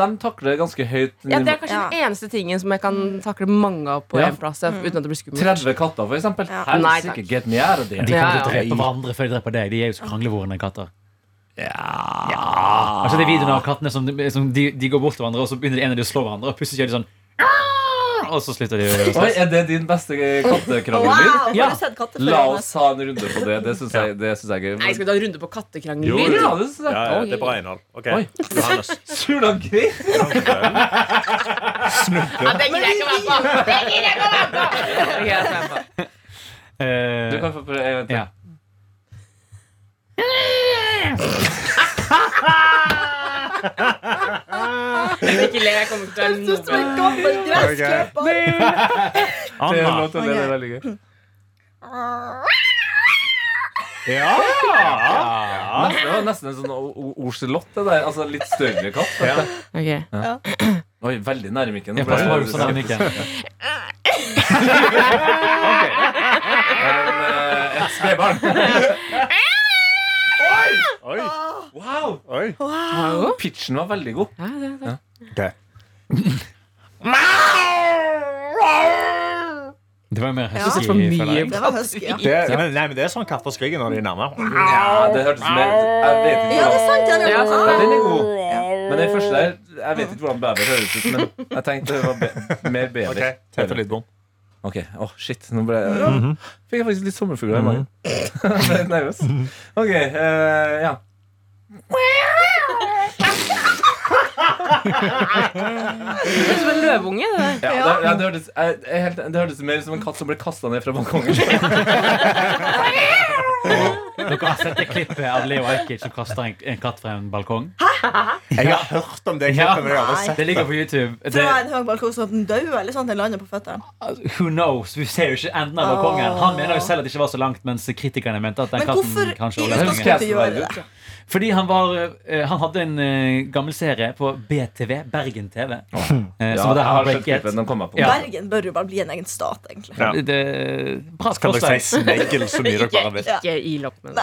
Speaker 2: de takler ganske høyt.
Speaker 6: Ja, det
Speaker 2: nivå.
Speaker 6: er kanskje den eneste tingen som jeg kan takle mange av på
Speaker 2: Ja.
Speaker 6: én plass.
Speaker 5: Mm.
Speaker 6: ja, Uten at det blir skummelt.
Speaker 2: 30 katter, for eksempel.
Speaker 5: Ja.
Speaker 6: Nei,
Speaker 2: Helsike,
Speaker 6: takk.
Speaker 2: get me out of
Speaker 3: De
Speaker 2: there.
Speaker 3: kommer til å
Speaker 6: Ja, ja.
Speaker 3: drepe hverandre før de dreper deg. De er jo så kranglevorne katter.
Speaker 2: Ja.
Speaker 3: Altså, det er videoene av kattene som, som de, de går bort til hverandre, og så begynner en av de å slå hverandre, og plutselig gjør de sånn «Aah!» Og så slutter de
Speaker 2: <laughs>
Speaker 3: å
Speaker 2: Oi, er det din beste
Speaker 5: Wow!
Speaker 2: kattekrangelyd?
Speaker 3: Ja.
Speaker 5: Har du sett katter
Speaker 2: La
Speaker 5: før?
Speaker 2: oss ha en runde på det. Det syns jeg, det synes jeg er
Speaker 6: Nei,
Speaker 2: gøy.
Speaker 6: skal vi ta en runde på kattekrangel?
Speaker 2: Jo, ja, det synes
Speaker 4: Ja,
Speaker 2: jeg.
Speaker 4: ja, det er bra innhold. Ok,
Speaker 2: Oi.
Speaker 4: Johannes.
Speaker 2: Sula gøy.
Speaker 6: Ja, det gidder jeg ikke å være på! Det gidder jeg ikke å være på! Det gidder jeg ikke å være på!
Speaker 2: Du kan få prøve en gang til.
Speaker 3: Eh, Ja.
Speaker 6: Ikke le, jeg kommer ikke til å være
Speaker 5: Du som en gammel gressklipp.
Speaker 3: Ah.
Speaker 4: Anna.
Speaker 2: Det er veldig gøy.
Speaker 4: Ja!
Speaker 3: Ah.
Speaker 2: Nesten, det var nesten en sånn o- o- oselott, det der. Altså litt større katt.
Speaker 6: noe. Ok.
Speaker 2: Oi, veldig nær mikken. Nå
Speaker 3: Jeg passer
Speaker 2: ble
Speaker 3: bare
Speaker 2: jeg
Speaker 3: på sånn
Speaker 2: skeptisk.
Speaker 3: Anniken.
Speaker 2: Men, eh, Et spedbarn.
Speaker 4: Oi.
Speaker 2: Wow!
Speaker 4: Oi.
Speaker 6: Hallo?
Speaker 2: Pitchen var veldig god.
Speaker 6: Ja, det, det.
Speaker 3: Det sånn var jo mer
Speaker 5: Ja.
Speaker 6: For
Speaker 3: husky, føler
Speaker 6: mye
Speaker 3: jeg.
Speaker 5: Det var husky. Ja.
Speaker 4: Det, nei, men det er sånn katter skriker når de er nærme.
Speaker 2: Ja, det hørtes mer Jeg vet ikke
Speaker 5: Ja,
Speaker 2: hvordan
Speaker 5: det er sant. Ja, det
Speaker 6: Ja,
Speaker 5: er Ah,
Speaker 6: sant
Speaker 5: sant.
Speaker 6: det.
Speaker 2: Den er god. Men den første der Jeg vet ikke hvordan bever høres ut, men jeg tenkte det var be mer bever.
Speaker 4: Ok, Tete Lidbom.
Speaker 2: Ok, åh shit, nå ble jeg
Speaker 3: Mhm.
Speaker 2: Fikk jeg faktisk litt sommerfugler i magen <laughs> Jeg ble litt nervøs Ok, eh, ja
Speaker 6: det er som en løveunge. Det der.
Speaker 2: Ja, det, ja, det, hørtes, jeg, jeg, helt, det hørtes mer som en katt som ble kastet ned fra balkongen
Speaker 3: Dere har sett det klippet av Leo Ajkic som kaster en, en katt fra en balkong?
Speaker 4: Jeg har hørt om det
Speaker 3: Ja.
Speaker 4: klippet, men jeg har aldri
Speaker 3: Det
Speaker 4: sett
Speaker 3: ligger på YouTube. Det,
Speaker 5: Fra en høy balkong som den dauer, eller sånn at den lander på føttene.
Speaker 3: who knows? Vi ser jo ikke enden av balkongen. Han mener jo selv at det ikke var så langt, mens kritikerne mente at den
Speaker 5: Men hvorfor
Speaker 3: katten
Speaker 5: i
Speaker 3: kanskje
Speaker 2: Jeg
Speaker 3: overlevde
Speaker 2: husker
Speaker 3: lenger.
Speaker 5: utgangspunktet
Speaker 2: jeg
Speaker 5: gjør
Speaker 2: så
Speaker 5: det
Speaker 2: veldig
Speaker 5: det?
Speaker 3: Fordi han var eh, Han hadde en eh, gammel serie på BTV, Bergen TV. eh,
Speaker 2: Ja,
Speaker 3: som var der
Speaker 2: jeg har
Speaker 3: han
Speaker 2: sett
Speaker 3: breaket.
Speaker 2: klippen, den kom jeg på
Speaker 3: Ja.
Speaker 5: Bergen bør jo bare bli en egen stat, egentlig.
Speaker 4: Ja.
Speaker 3: Det, bra
Speaker 4: Kan dere
Speaker 3: forslag.
Speaker 4: si snegl så mye dere bare vil?
Speaker 6: Ikke, ikke ilokk med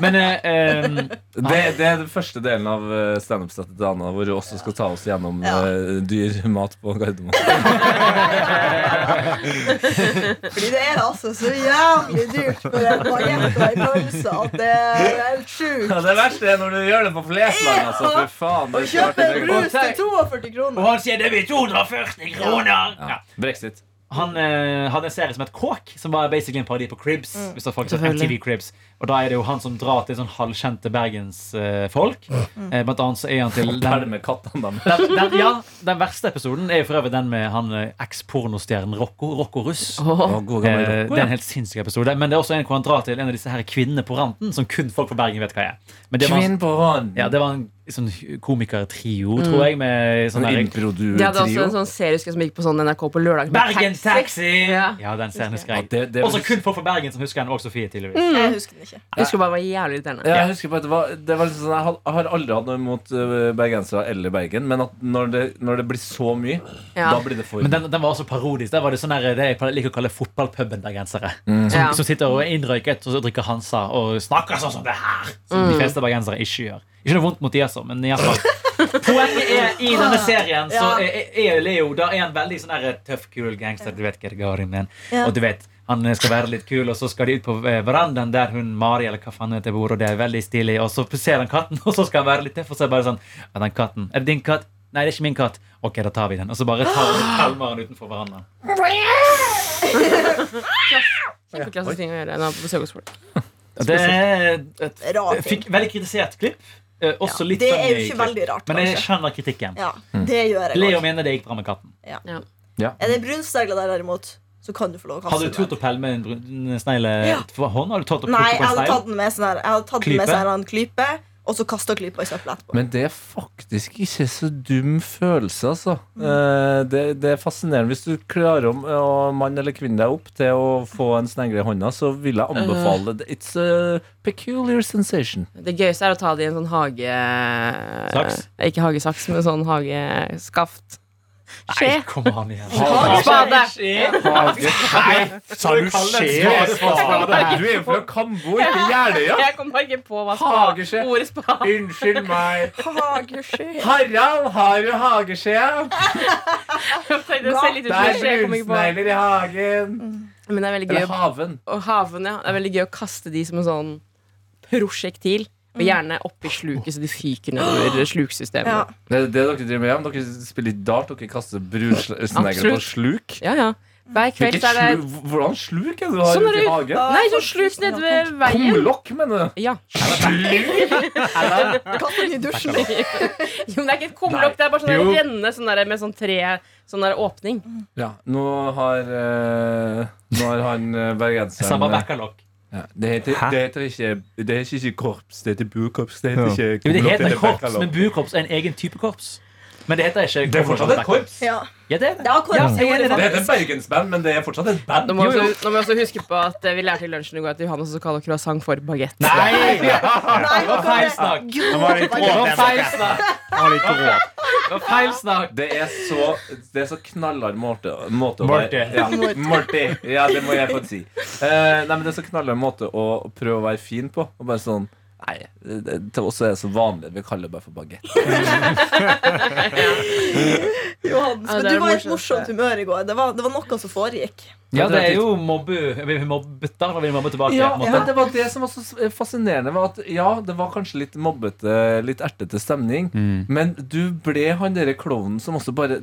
Speaker 3: Men eh, eh,
Speaker 2: det, det er den første delen av eh, stand-up-settet til Anna Hvor du også skal ta oss gjennom
Speaker 5: Ja.
Speaker 2: eh, dyr mat på Gardermoen <laughs>
Speaker 5: Fordi det er altså så jævlig dyrt på den bagetten i pølsa at det er helt sjukt.
Speaker 2: Ja, Det verste er når du gjør det på Flesland altså,
Speaker 5: Ja.
Speaker 2: For faen
Speaker 5: Å
Speaker 2: det er
Speaker 5: kjøpe en
Speaker 2: klart det er-
Speaker 5: brus til 42
Speaker 3: og
Speaker 5: kroner.
Speaker 3: han sier det blir 240 kroner! Ja.
Speaker 2: ja. Brexit
Speaker 3: Han eh, hadde en serie som het Kåk, som var basically en parodi på Cribs. Hvis det er folk som
Speaker 6: Selvfølgelig.
Speaker 3: MTV Cribs Og da er det jo han som drar til sånn halvkjente bergensfolk. Eh, blant annet så er han til den,
Speaker 2: Pælme kattene dem
Speaker 3: den, den, ja, den verste episoden er jo for øvrig den med han eh, eks-pornostjernen Rocco. Rocco Russ.
Speaker 2: Å, god
Speaker 3: Eh,
Speaker 2: gammel
Speaker 3: det er en helt sinnssyk episode. Men det er også en hvor han drar til en av disse her kvinnene på ranten, som kun folk fra Bergen vet hva er. Men det var,
Speaker 2: Kvinn på hånd
Speaker 3: ja, det var en sånn komikertrio, tror jeg. Med sånn
Speaker 2: Sånn
Speaker 3: der-
Speaker 6: De hadde også
Speaker 2: impro-duo-trio
Speaker 6: en sånn serie husker jeg, som gikk på sånn NRK på lørdag.
Speaker 3: Bergen Taxi!
Speaker 6: Ja.
Speaker 3: Ja, den serien husker jeg.
Speaker 2: Ja, det- det-
Speaker 3: Også kun folk fra Bergen som husker den, og Sofie tydeligvis.
Speaker 5: Jeg husker den ikke.
Speaker 6: Jeg husker bare det var jævlig irriterende.
Speaker 2: Ja, jeg husker på at det var, det var liksom sånn, jeg had- jeg har aldri hatt noe imot øh, bergensere eller Bergen, men at når det, når det blir så mye,
Speaker 6: Ja.
Speaker 2: da blir det for
Speaker 3: Men
Speaker 2: mye.
Speaker 3: den, den var også parodisk. Der var Det sånn der, det jeg liker å kalle fotballpuben-bergensere. Som,
Speaker 6: Ja.
Speaker 3: som
Speaker 2: sånn-
Speaker 3: sitter og er innrøyket og så drikker Hansa og snakker sånn som det her. Som
Speaker 5: Mm.
Speaker 3: de fleste bergensere ikke gjør. Ikke noe vondt mot de, altså, men i alle fall. Poenget er i denne serien så
Speaker 5: Ja.
Speaker 3: er, er Leo da er han veldig sånn der tøff, kul gangster. Du vet hva det går i med han.
Speaker 5: Ja.
Speaker 3: Og du vet, han skal være litt kul, og så skal de ut på eh, verandaen der hun Mari eller hva faen hun heter bor, og det er veldig stilig. Og så ser han katten, <laughs> og så skal han være litt tøff, og så er det bare sånn «Ja, den katten, Er det din katt? Nei, det er ikke min katt. Ok, da tar vi den. Og så bare tar han
Speaker 5: <gasps>
Speaker 3: kalmeren utenfor verandaen.
Speaker 6: Kjempeklassisk ting å gjøre når man er på besøk hos folk.
Speaker 3: Og Det er et
Speaker 5: Rar ting.
Speaker 3: fikk veldig kritisert klipp. eh, Også litt
Speaker 5: Det er jo
Speaker 3: funny
Speaker 5: ikke
Speaker 3: klipp.
Speaker 5: veldig rart,
Speaker 3: Men jeg
Speaker 5: kanskje.
Speaker 3: skjønner kritikken.
Speaker 5: Ja, det gjør jeg
Speaker 3: Leo
Speaker 5: godt.
Speaker 3: mener det gikk bra med katten.
Speaker 5: Er det brunstegler der, derimot, så kan du få lov å
Speaker 3: Har
Speaker 5: kaste
Speaker 3: du turt å pelle med en brun snegle
Speaker 5: Ja.
Speaker 3: for hånd? Har du turt å
Speaker 5: Nei,
Speaker 3: plukke
Speaker 5: jeg
Speaker 3: på en
Speaker 5: hadde
Speaker 3: snegle?
Speaker 5: tatt den med sånn her Jeg hadde tatt den med
Speaker 3: Klype?
Speaker 5: sånn her en klype, og så kasta klypa i søpla
Speaker 3: <laughs>
Speaker 5: etterpå.
Speaker 2: Men det er faktisk ikke så dum følelse, altså. Eh, Det, det er fascinerende. Hvis du klarer om eh, å mann eller kvinne deg opp til å få en snegle i hånda, så vil jeg
Speaker 6: Øh.
Speaker 2: anbefale det. It's a peculiar sensation.
Speaker 6: Det gøyeste er å ta det i en sånn hage...
Speaker 3: Saks?
Speaker 6: Eh, Ikke hagesaks, men sånn hageskaft. Skje.
Speaker 3: Nei, kom an igjen.
Speaker 6: Spade.
Speaker 4: Sa du skje?
Speaker 2: Du er jo fra Kambo, ikke Jeløya.
Speaker 6: Jeg kom bare ikke på hva spade
Speaker 2: Hageskje.
Speaker 6: ordet spade
Speaker 2: Unnskyld meg.
Speaker 5: Hageskje.
Speaker 2: Harald har jo hageskjea.
Speaker 6: Det ser litt ut som en skje. jeg kom ikke på.
Speaker 2: i hagen.
Speaker 6: Men det er veldig gøy
Speaker 2: Eller
Speaker 6: å
Speaker 2: haven.
Speaker 6: og haven, ja. Det er veldig gøy å kaste de som en sånn prosjektil. Og gjerne oppi sluket, så de fyker nedover
Speaker 5: Ja.
Speaker 6: sluksystemet.
Speaker 2: Det er det dere driver med hjem. Dere spiller ikke dart, dere kaster brunsnegler på
Speaker 6: Absolutt.
Speaker 2: sluk.
Speaker 6: Ja, ja. Hver kveld
Speaker 2: Hvilket
Speaker 6: så er det
Speaker 2: slu, hvordan sluk er det du har
Speaker 6: Sånn er
Speaker 2: ute i hagen?
Speaker 6: det- Nei, sånn sluk nede ved veien.
Speaker 2: Kumlokk, mener du?
Speaker 6: Ja. <laughs>
Speaker 5: Kast den i dusjen.
Speaker 6: Jo, men det er ikke et kumlokk, det er bare sånn der renne sånn der, med sånn tre Sånn der åpning.
Speaker 2: Ja, nå har, eh, nå har han eh,
Speaker 3: Samme
Speaker 2: bergenseren eh,
Speaker 3: backerlock.
Speaker 2: ja, det, heter, det heter ikke Det heter ikke korps, det heter buekorps. Det
Speaker 4: Ja.
Speaker 2: heter ikke
Speaker 3: Det
Speaker 2: kumlokk
Speaker 3: heter
Speaker 2: eller
Speaker 3: korps,
Speaker 2: backerlock.
Speaker 3: men bukorps er en egen type korps. Men det heter ikke
Speaker 2: Det er fortsatt et korps.
Speaker 5: Ja.
Speaker 3: Ja, det er det.
Speaker 5: Det var korps.
Speaker 3: Ja, jeg er enig i
Speaker 2: Det
Speaker 5: Ja,
Speaker 2: heter bergensband, men det er fortsatt et band.
Speaker 6: Nå må,
Speaker 3: Jo, jo.
Speaker 6: vi også, nå må vi også huske på at eh, vi lærte i lunsjen i går at Johannes også kaller croissant for bagett.
Speaker 3: Nei! Det
Speaker 5: Nei,
Speaker 3: var feil snakk.
Speaker 4: Det var litt
Speaker 3: Det var feil
Speaker 4: råd.
Speaker 3: snakk. Det var feil snakk.
Speaker 2: Det er så, det er så knallhard måte, måte å
Speaker 3: Morty.
Speaker 2: være ja, Morty. Ja, det må jeg få si. Eh, nei, men Det er så knallhard måte å prøve å være fin på. Og bare sånn Nei, det, til oss er det så vanlig. Vi kaller det bare for bagett.
Speaker 5: Johannes,
Speaker 6: Ja,
Speaker 5: men
Speaker 6: det er
Speaker 5: du var i et
Speaker 6: morsomt.
Speaker 5: morsomt humør i går. Det var, det var noe som foregikk.
Speaker 3: Ja, det er jo mobbe. Vi mobbet da, da vi mobber tilbake.
Speaker 2: Ja,
Speaker 3: på en måte.
Speaker 2: men Det var det som var så s- fascinerende. Var at, ja, det var kanskje litt mobbete, litt ertete stemning,
Speaker 3: Mm.
Speaker 2: men du ble han derre klovnen som også bare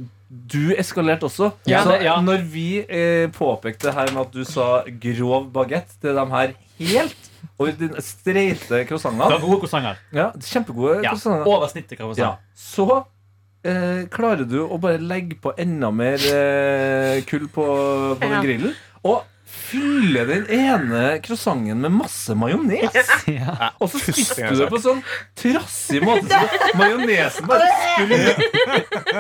Speaker 2: Du eskalerte også.
Speaker 3: Ja,
Speaker 2: så
Speaker 3: det- ja.
Speaker 2: når vi eh, påpekte det her med at du sa grov bagett til de her helt ordin- streite
Speaker 3: Det var
Speaker 2: croissantene
Speaker 3: gode croissanter.
Speaker 2: ja, Kjempegode
Speaker 3: Ja.
Speaker 2: croissanter.
Speaker 3: Over snittet, kan vi si.
Speaker 2: Ja. Altså, Så eh, klarer du å bare legge på enda mer eh, kull på, på den
Speaker 6: Ja.
Speaker 2: grillen. Og fylle den ene croissanten med masse majones.
Speaker 3: Ja.
Speaker 2: Og så
Speaker 4: Første
Speaker 2: spiste
Speaker 4: gang
Speaker 2: du
Speaker 4: jeg
Speaker 2: det på sånn trassig måte. Så majonesen bare skulle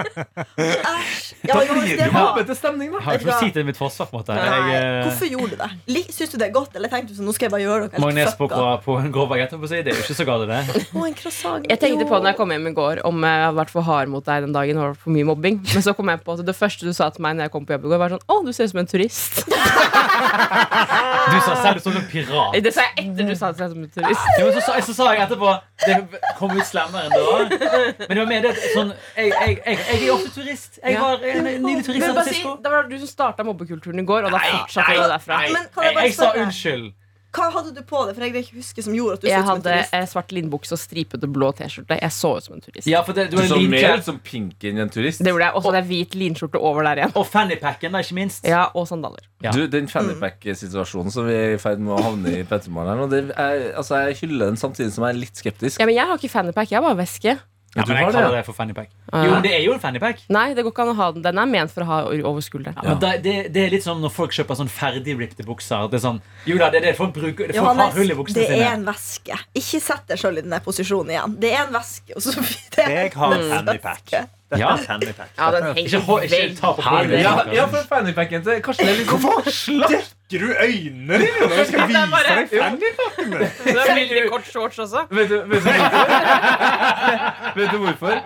Speaker 5: Æsj. Ja,
Speaker 2: Da
Speaker 5: Johannes,
Speaker 2: blir det
Speaker 5: det
Speaker 2: jo
Speaker 5: var
Speaker 2: mobbete stemning,
Speaker 3: Jeg
Speaker 2: da.
Speaker 3: har ikke noe å si til mitt forsvar. på en måte.
Speaker 5: Nei,
Speaker 3: Jeg, eh,
Speaker 5: Hvorfor gjorde du det? Lik- Syns du det er godt, eller tenkte du sånn, nå skal jeg bare gjøre noe? helt
Speaker 3: Majones på,
Speaker 5: fucka?
Speaker 3: på en grov bagett, holdt jeg på å si. det er jo ikke så galt, det.
Speaker 5: Å, en croissant.
Speaker 6: Jeg tenkte på
Speaker 5: Jo.
Speaker 6: når jeg kom hjem i går om eh, jeg hadde vært for hard mot deg den dagen. Og det var for mye mobbing Men så kom jeg på at det første du sa til meg Når jeg kom på jobb i går, var sånn Å, du ser ut som en turist.
Speaker 3: Du sa selv du så ut som en pirat.
Speaker 6: Det sa jeg etter du sa at du ser ut som en turist.
Speaker 3: Ja, men så, sa- så sa jeg etterpå Det kom ut slemmere enn det var. Men det var mer det at sånn Jeg, jeg, jeg, jeg er ofte turist. Jeg
Speaker 6: Ja.
Speaker 3: var en nylig turist i
Speaker 6: Men
Speaker 3: San
Speaker 6: bare si,
Speaker 3: Francisco.
Speaker 6: Det var du som starta mobbekulturen i går, og da fortsatte det derfra.
Speaker 3: nei,
Speaker 5: Men kan jeg
Speaker 3: jeg,
Speaker 5: bare
Speaker 3: jeg sa
Speaker 5: spørre?
Speaker 3: unnskyld.
Speaker 5: Hva hadde du på deg, for jeg greier ikke å huske som gjorde at du så
Speaker 6: Jeg
Speaker 5: ut som en
Speaker 6: hadde
Speaker 5: turist?
Speaker 6: eh, svart linnbukse og stripete blå T-skjorte. Jeg så ut som en turist.
Speaker 3: Ja, for det,
Speaker 2: Du
Speaker 3: du var
Speaker 2: så mer ut
Speaker 3: linkjær.
Speaker 2: som Pink enn en turist.
Speaker 6: Det gjorde jeg. Og så hadde jeg hvit linskjorte over der igjen.
Speaker 3: Og fannypacken, da, ikke minst.
Speaker 6: Ja, Og sandaler.
Speaker 3: Ja.
Speaker 2: Du, Den fannypack-situasjonen som vi er i ferd med å havne i på Ettermorgen her nå, det er- altså, jeg hyller den samtidig som jeg er litt skeptisk.
Speaker 6: Ja, Men jeg har ikke fannypack, jeg har bare veske.
Speaker 3: Ja,
Speaker 2: Du
Speaker 3: men jeg
Speaker 2: har det,
Speaker 3: kaller
Speaker 2: ja.
Speaker 3: det for fannypack. Jo, men det er jo en fannypack.
Speaker 6: Nei, det går ikke an å ha den. Den er ment for å ha over skulderen.
Speaker 3: Ja, men da, det, det er litt som når folk kjøper sånn ferdig rippte bukser. Det er sånn, jo da, det er det folk bruker Folk har hull i
Speaker 5: Johannes,
Speaker 3: buksene
Speaker 5: det er
Speaker 3: sine.
Speaker 5: en veske. Ikke sett deg sjøl i den der posisjonen igjen. Det er en veske. Og så <laughs> det er
Speaker 4: Jeg har fannypack. Dette
Speaker 3: Ja.
Speaker 4: er fannypack.
Speaker 6: Ja, den henger
Speaker 3: Ikke, hold- ikke
Speaker 6: vegg.
Speaker 3: ta på bordet.
Speaker 2: Ja, ja, for fannypacken til Karsten er litt sånn-
Speaker 4: Dekker du øynene dine når jeg skal
Speaker 6: Det er
Speaker 4: vise
Speaker 6: bare-
Speaker 4: deg fannypacken min?
Speaker 6: Det er veldig kort shorts også.
Speaker 2: <laughs> Vet du, vet, du hvorfor? vet du hvorfor?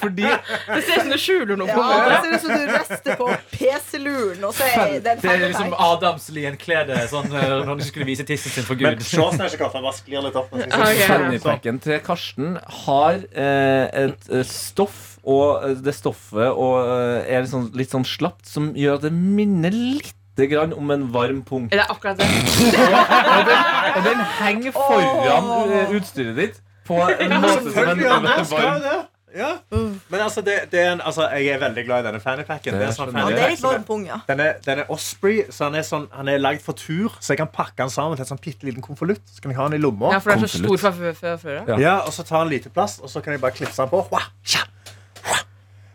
Speaker 2: Fordi
Speaker 6: Det ser ut som du skjuler noe. på
Speaker 5: Ja,
Speaker 6: en
Speaker 5: det
Speaker 6: måte.
Speaker 5: ser ut som du rester på PC-luren, og så er det en
Speaker 3: Det er liksom
Speaker 5: fannypack.
Speaker 3: Adamslien-kledet sånn, eh, når du skulle vise tissen sin for Gud.
Speaker 4: Men shortsen er ikke kaffe. Jeg bare sklir litt opp. Sånn.
Speaker 6: Ok.
Speaker 2: Fannypacken til Karsten har eh, et eh, stoff, og eh, det stoffet og, eh, er litt sånn, litt sånn slapt, som gjør at det minner lite grann om en varm pung.
Speaker 6: Det er akkurat det.
Speaker 2: Og den henger foran eh, utstyret ditt på en måte som en,
Speaker 4: Selvfølgelig,
Speaker 2: en
Speaker 4: Anders, skal
Speaker 2: varm
Speaker 4: det. Ja. Men altså, det, det er en, altså, jeg er veldig glad i denne fannypacken. Det er en sånn
Speaker 5: Ja, det er
Speaker 4: fannypack
Speaker 5: litt
Speaker 4: som er-
Speaker 5: varm pung, ja.
Speaker 4: Den er, den er Osprey, så han er, sånn, han er lagd for tur. Så jeg kan pakke den sammen til en sånn bitte liten konvolutt. Så kan jeg ha den i lomma.
Speaker 6: Ja, for det er så
Speaker 2: Konvolutt.
Speaker 6: stor fra før- før før av.
Speaker 2: Ja.
Speaker 4: Ja, og så tar han lite plast, og så kan jeg bare klipse den på. Hua, tja, hua.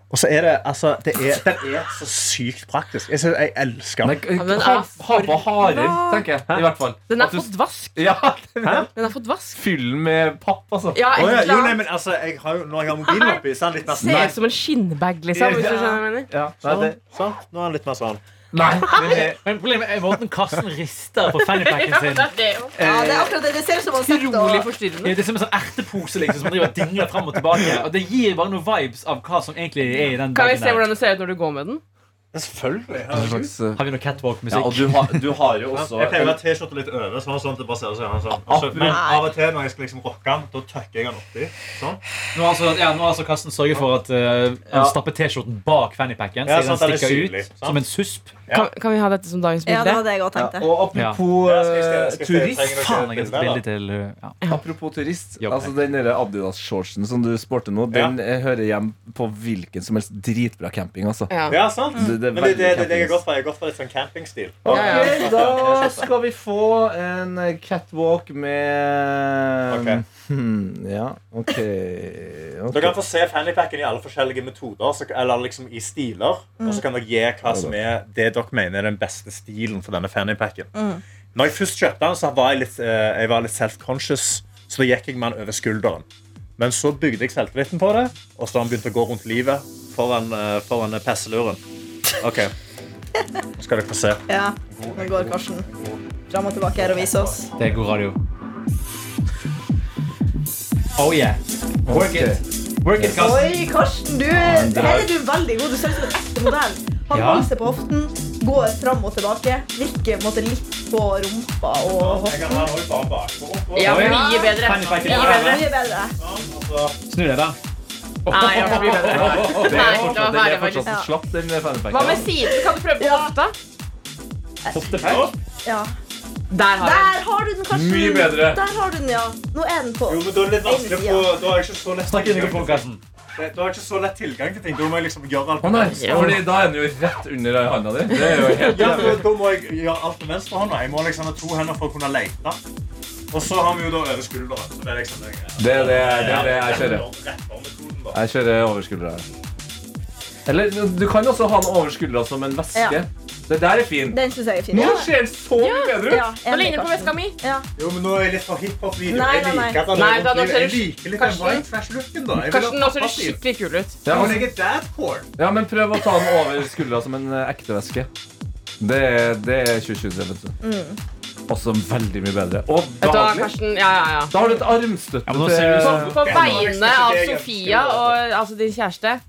Speaker 4: Og så er det altså det er, Den er så sykt praktisk. Jeg, synes, jeg elsker
Speaker 2: Nei,
Speaker 4: den.
Speaker 2: eh,
Speaker 6: Ja, men
Speaker 2: ha,
Speaker 6: er
Speaker 2: ha på harer, tenker jeg. I hvert fall.
Speaker 6: Den
Speaker 2: At
Speaker 6: har
Speaker 2: du-
Speaker 6: fått vask.
Speaker 2: Ja, <laughs>
Speaker 6: Den har fått vask.
Speaker 2: Fyll den med papp, altså.
Speaker 6: Ja,
Speaker 4: Å, ja.
Speaker 6: et eller
Speaker 4: Jo, nei,
Speaker 6: annet.
Speaker 4: men altså, jeg har jo, Når jeg har mobilen oppi, så er den litt mer
Speaker 6: Ser
Speaker 4: sånn.
Speaker 6: ut som en skinnbag, liksom. Hvis du skjønner hva jeg mener.
Speaker 2: Ja, nei,
Speaker 4: Sånn,
Speaker 2: det,
Speaker 4: sånn. Nå er den litt mer sånn.
Speaker 6: <laughs>
Speaker 2: nei, men det,
Speaker 3: <laughs> Men problemet er måten Karsten rister på fannypacken
Speaker 6: Ja,
Speaker 3: sin.
Speaker 6: det er det jo.
Speaker 5: ja. Det er akkurat det. Det ser ut som han sitter
Speaker 6: Utrolig
Speaker 5: og
Speaker 6: forstyrrende.
Speaker 3: Det er som en sånn ertepose liksom, som man driver og dingler frem og tilbake. Og Det gir bare noen vibes av hva som egentlig er i den
Speaker 6: Kan vi
Speaker 3: bagen
Speaker 6: se
Speaker 3: der.
Speaker 6: hvordan det ser ut når du går med den?
Speaker 4: Ja, Selvfølgelig.
Speaker 2: det er en slags, eh,
Speaker 3: Har vi
Speaker 2: ja,
Speaker 3: noe
Speaker 2: og
Speaker 3: catwalk-musikk?
Speaker 2: du, har- du har jo også
Speaker 4: Jeg pleier å ha T-skjorta litt over, sånn, sånn at det bare ser ut som jeg har en sånn. Og så- Men av og til når jeg skal liksom rocke den, da tøkker jeg den oppi. Sånn.
Speaker 3: Nå har altså, ja, nå har altså Karsten sørget for at eh,
Speaker 2: Ja.
Speaker 3: han stapper T-skjorten bak fannypacken, så
Speaker 4: Ja,
Speaker 3: den
Speaker 4: sant, den er
Speaker 3: stikker
Speaker 4: synlig,
Speaker 3: ut
Speaker 4: sant?
Speaker 3: som en susp.
Speaker 6: Kan, kan vi ha dette som dagens
Speaker 5: Ja, det
Speaker 6: bilde?
Speaker 5: var det jeg òg tenkte.
Speaker 2: Og apropos
Speaker 4: Ja, skal jeg- skal jeg-
Speaker 2: eh,
Speaker 4: skal jeg-
Speaker 2: turist
Speaker 4: trenger dere
Speaker 3: Faen, jeg har sett
Speaker 4: et bilde, da?
Speaker 3: bilde til eh, ja.
Speaker 2: Apropos turist,
Speaker 3: Jobb.
Speaker 2: altså den der Adidas-shortsen som du sporter nå,
Speaker 4: Ja.
Speaker 2: den eh, hører hjem på hvilken som helst dritbra camping, altså.
Speaker 6: Ja.
Speaker 4: Ja, sant?
Speaker 2: Det- det er
Speaker 4: Men det, det, det, det jeg
Speaker 2: veldig
Speaker 4: er godt for, jeg er godt for litt sånn campingstil.
Speaker 2: Ok,
Speaker 6: Ja, ja.
Speaker 2: da skal vi få en eh, catwalk med
Speaker 4: Ok.
Speaker 2: hmm, Ja, OK. ok.
Speaker 4: Dere kan få se fannypacken i alle forskjellige metoder, så, eller liksom i stiler. Og så kan dere gi hva som er det dere mener er den beste stilen for denne fannypacken. Når jeg først kjøpte den, så var jeg litt, eh, jeg var litt self-conscious, så da gikk jeg med den over skulderen. Men så bygde jeg selvtilliten på det, og så har han begynt å gå rundt livet foran, eh, foran pesseluren. OK. Skal dere få se.
Speaker 5: Ja, nå går Karsten fram og tilbake her og viser oss.
Speaker 3: Det er god radio. Oh yeah. Work it. Work it, Karsten.
Speaker 5: Oi, Karsten, du er, her er du veldig god. Du ser ut som en ekte modell. Han
Speaker 3: Ja.
Speaker 5: valser på hoften, går fram og tilbake, virker på en måte litt på rumpa og hoften.
Speaker 6: Ja,
Speaker 3: Oi.
Speaker 6: mye bedre.
Speaker 3: Fanny Fighter.
Speaker 6: Mye
Speaker 5: Ja,
Speaker 6: bedre.
Speaker 5: mye bedre.
Speaker 3: Snu deg, da. <laughs>
Speaker 6: Nei, ja, mye bedre.
Speaker 2: Det
Speaker 6: Nei,
Speaker 2: er
Speaker 6: det var
Speaker 2: fortsatt, det
Speaker 6: ferdig,
Speaker 2: er fortsatt
Speaker 5: faktisk.
Speaker 2: slapp, den fanpacken.
Speaker 6: Hva med siden? Kan du prøve på
Speaker 5: Ja.
Speaker 6: hofta?
Speaker 3: Hoftefeil.
Speaker 5: Ja.
Speaker 6: Der har jeg
Speaker 5: Der har du den, Karsten.
Speaker 2: Mye bedre.
Speaker 5: Der har du den, ja. Nå er den på.
Speaker 4: men da er det litt
Speaker 5: vanskelig å få-
Speaker 4: Da har jeg ikke så lett
Speaker 3: Snakk inn i mikrofonen, Karsten.
Speaker 4: tilgang til ting. Da må jeg liksom gjøre alt
Speaker 2: Å nei, fordi da er den jo rett under handa di. Det er jo helt
Speaker 4: Ja, for da må jeg gjøre alt med venstrehånda. Jeg må liksom ha to hender for å kunne lete. Og så har vi jo da over skulderen. Så det er liksom det jeg-
Speaker 2: Det er det, det, er det jeg kjører.
Speaker 4: Rett armmetoden, da.
Speaker 2: Jeg kjører over skuldra. Eller du kan også ha den over skuldra som en veske.
Speaker 5: Ja.
Speaker 2: Det der er fint.
Speaker 5: Den syns jeg er fin.
Speaker 2: Nå ser den så mye bedre ut!
Speaker 5: Ja,
Speaker 6: Nå
Speaker 5: enig,
Speaker 6: ligner det på veska
Speaker 5: Karsten.
Speaker 6: mi.
Speaker 4: Jo, men nå er jeg litt for hiphop-video.
Speaker 5: Nei,
Speaker 4: Jeg
Speaker 5: nei, nei.
Speaker 4: liker at han
Speaker 6: Nei,
Speaker 4: er
Speaker 6: da, nå
Speaker 4: ordentlig.
Speaker 6: ser
Speaker 4: Jeg
Speaker 6: du-
Speaker 4: liker litt den
Speaker 6: Karsten.
Speaker 4: white trash-looken, da. Jeg vil ha
Speaker 6: Karsten, nå ser du
Speaker 4: pappa-stil.
Speaker 6: skikkelig kul ut.
Speaker 2: Ja,
Speaker 4: Jeg må
Speaker 2: men,
Speaker 4: legge dadcore.
Speaker 2: ja, men prøv å ta den over skuldra som en eh, ekte veske. Det, er- det er 2023, vet du. Også veldig mye bedre. Og
Speaker 6: Mm. Vet du hva,
Speaker 2: behagelig.
Speaker 6: Karsten? Ja, ja, ja.
Speaker 2: Da har du et armstøtte
Speaker 3: Ja, men nå ser du sånn.
Speaker 6: På vegne av
Speaker 4: Det er
Speaker 6: Sofia og altså din kjæreste,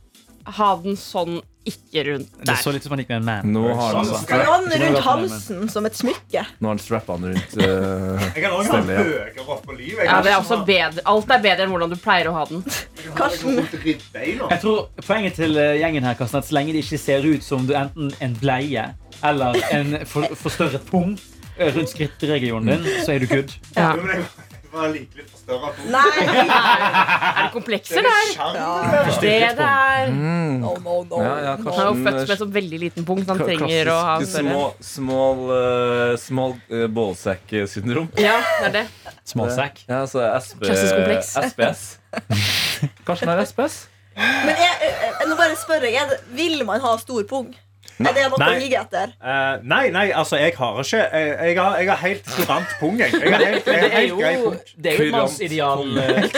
Speaker 6: ha den sånn ikke rundt
Speaker 3: Det
Speaker 6: der.
Speaker 3: så litt ut som han gikk med en man.
Speaker 2: Nå har han,
Speaker 5: Kan du ha den rundt halsen som et smykke?
Speaker 2: nå har han strappa den rundt eh,
Speaker 4: Jeg kan også ha
Speaker 2: Stemmer, ja.
Speaker 4: høyere opp på livet. Jeg
Speaker 6: Ja,
Speaker 4: kan
Speaker 6: det er
Speaker 4: ikke
Speaker 6: også
Speaker 4: ha-
Speaker 6: bedre. Alt er bedre enn hvordan du pleier å ha den.
Speaker 4: jeg kan ha
Speaker 5: Karsten.
Speaker 4: liksom rundt ribbeina.
Speaker 3: Jeg tror Poenget til eh, gjengen her, Karsten, er at så lenge de ikke ser ut som du enten en bleie eller en for, forstørret pung eh, rundt skrittregionen din, så er du good.
Speaker 6: Ja.
Speaker 4: Jo, men jeg jeg var like litt forstørret på-
Speaker 5: Nei!
Speaker 6: Er det komplekser
Speaker 4: Det er
Speaker 6: der?
Speaker 4: skjerm,
Speaker 5: Ja.
Speaker 4: det der.
Speaker 6: Det det er.
Speaker 2: mm.
Speaker 5: <laughs> No, no, no.
Speaker 2: Ja, ja,
Speaker 5: no.
Speaker 6: Han er jo født
Speaker 2: Karsten
Speaker 6: med så veldig liten punkt.
Speaker 2: <laughs>
Speaker 6: Han
Speaker 2: Ka-
Speaker 6: trenger å ha
Speaker 2: klassisk
Speaker 6: større.
Speaker 2: små- Small, eh, small eh, ballsack-syndrom.
Speaker 6: Ja, det er det.
Speaker 3: Småsekk.
Speaker 2: Ja, altså SP,
Speaker 6: Klassisk kompleks.
Speaker 2: SPS.
Speaker 6: <laughs>
Speaker 2: Karsten har SPS.
Speaker 5: Men jeg, jeg, jeg, nå bare spør jeg, er det, vil man ha stor pung? Er det noe
Speaker 4: Nei.
Speaker 5: å gige etter?
Speaker 4: Eh, nei, nei, altså, jeg har ikke Jeg, jeg, har, jeg har helt kurant pung, jeg. Jeg har helt,
Speaker 3: Det
Speaker 4: jeg har
Speaker 3: er
Speaker 4: helt
Speaker 3: jo,
Speaker 4: grei pung.
Speaker 3: det er jo et mannsideal. eh,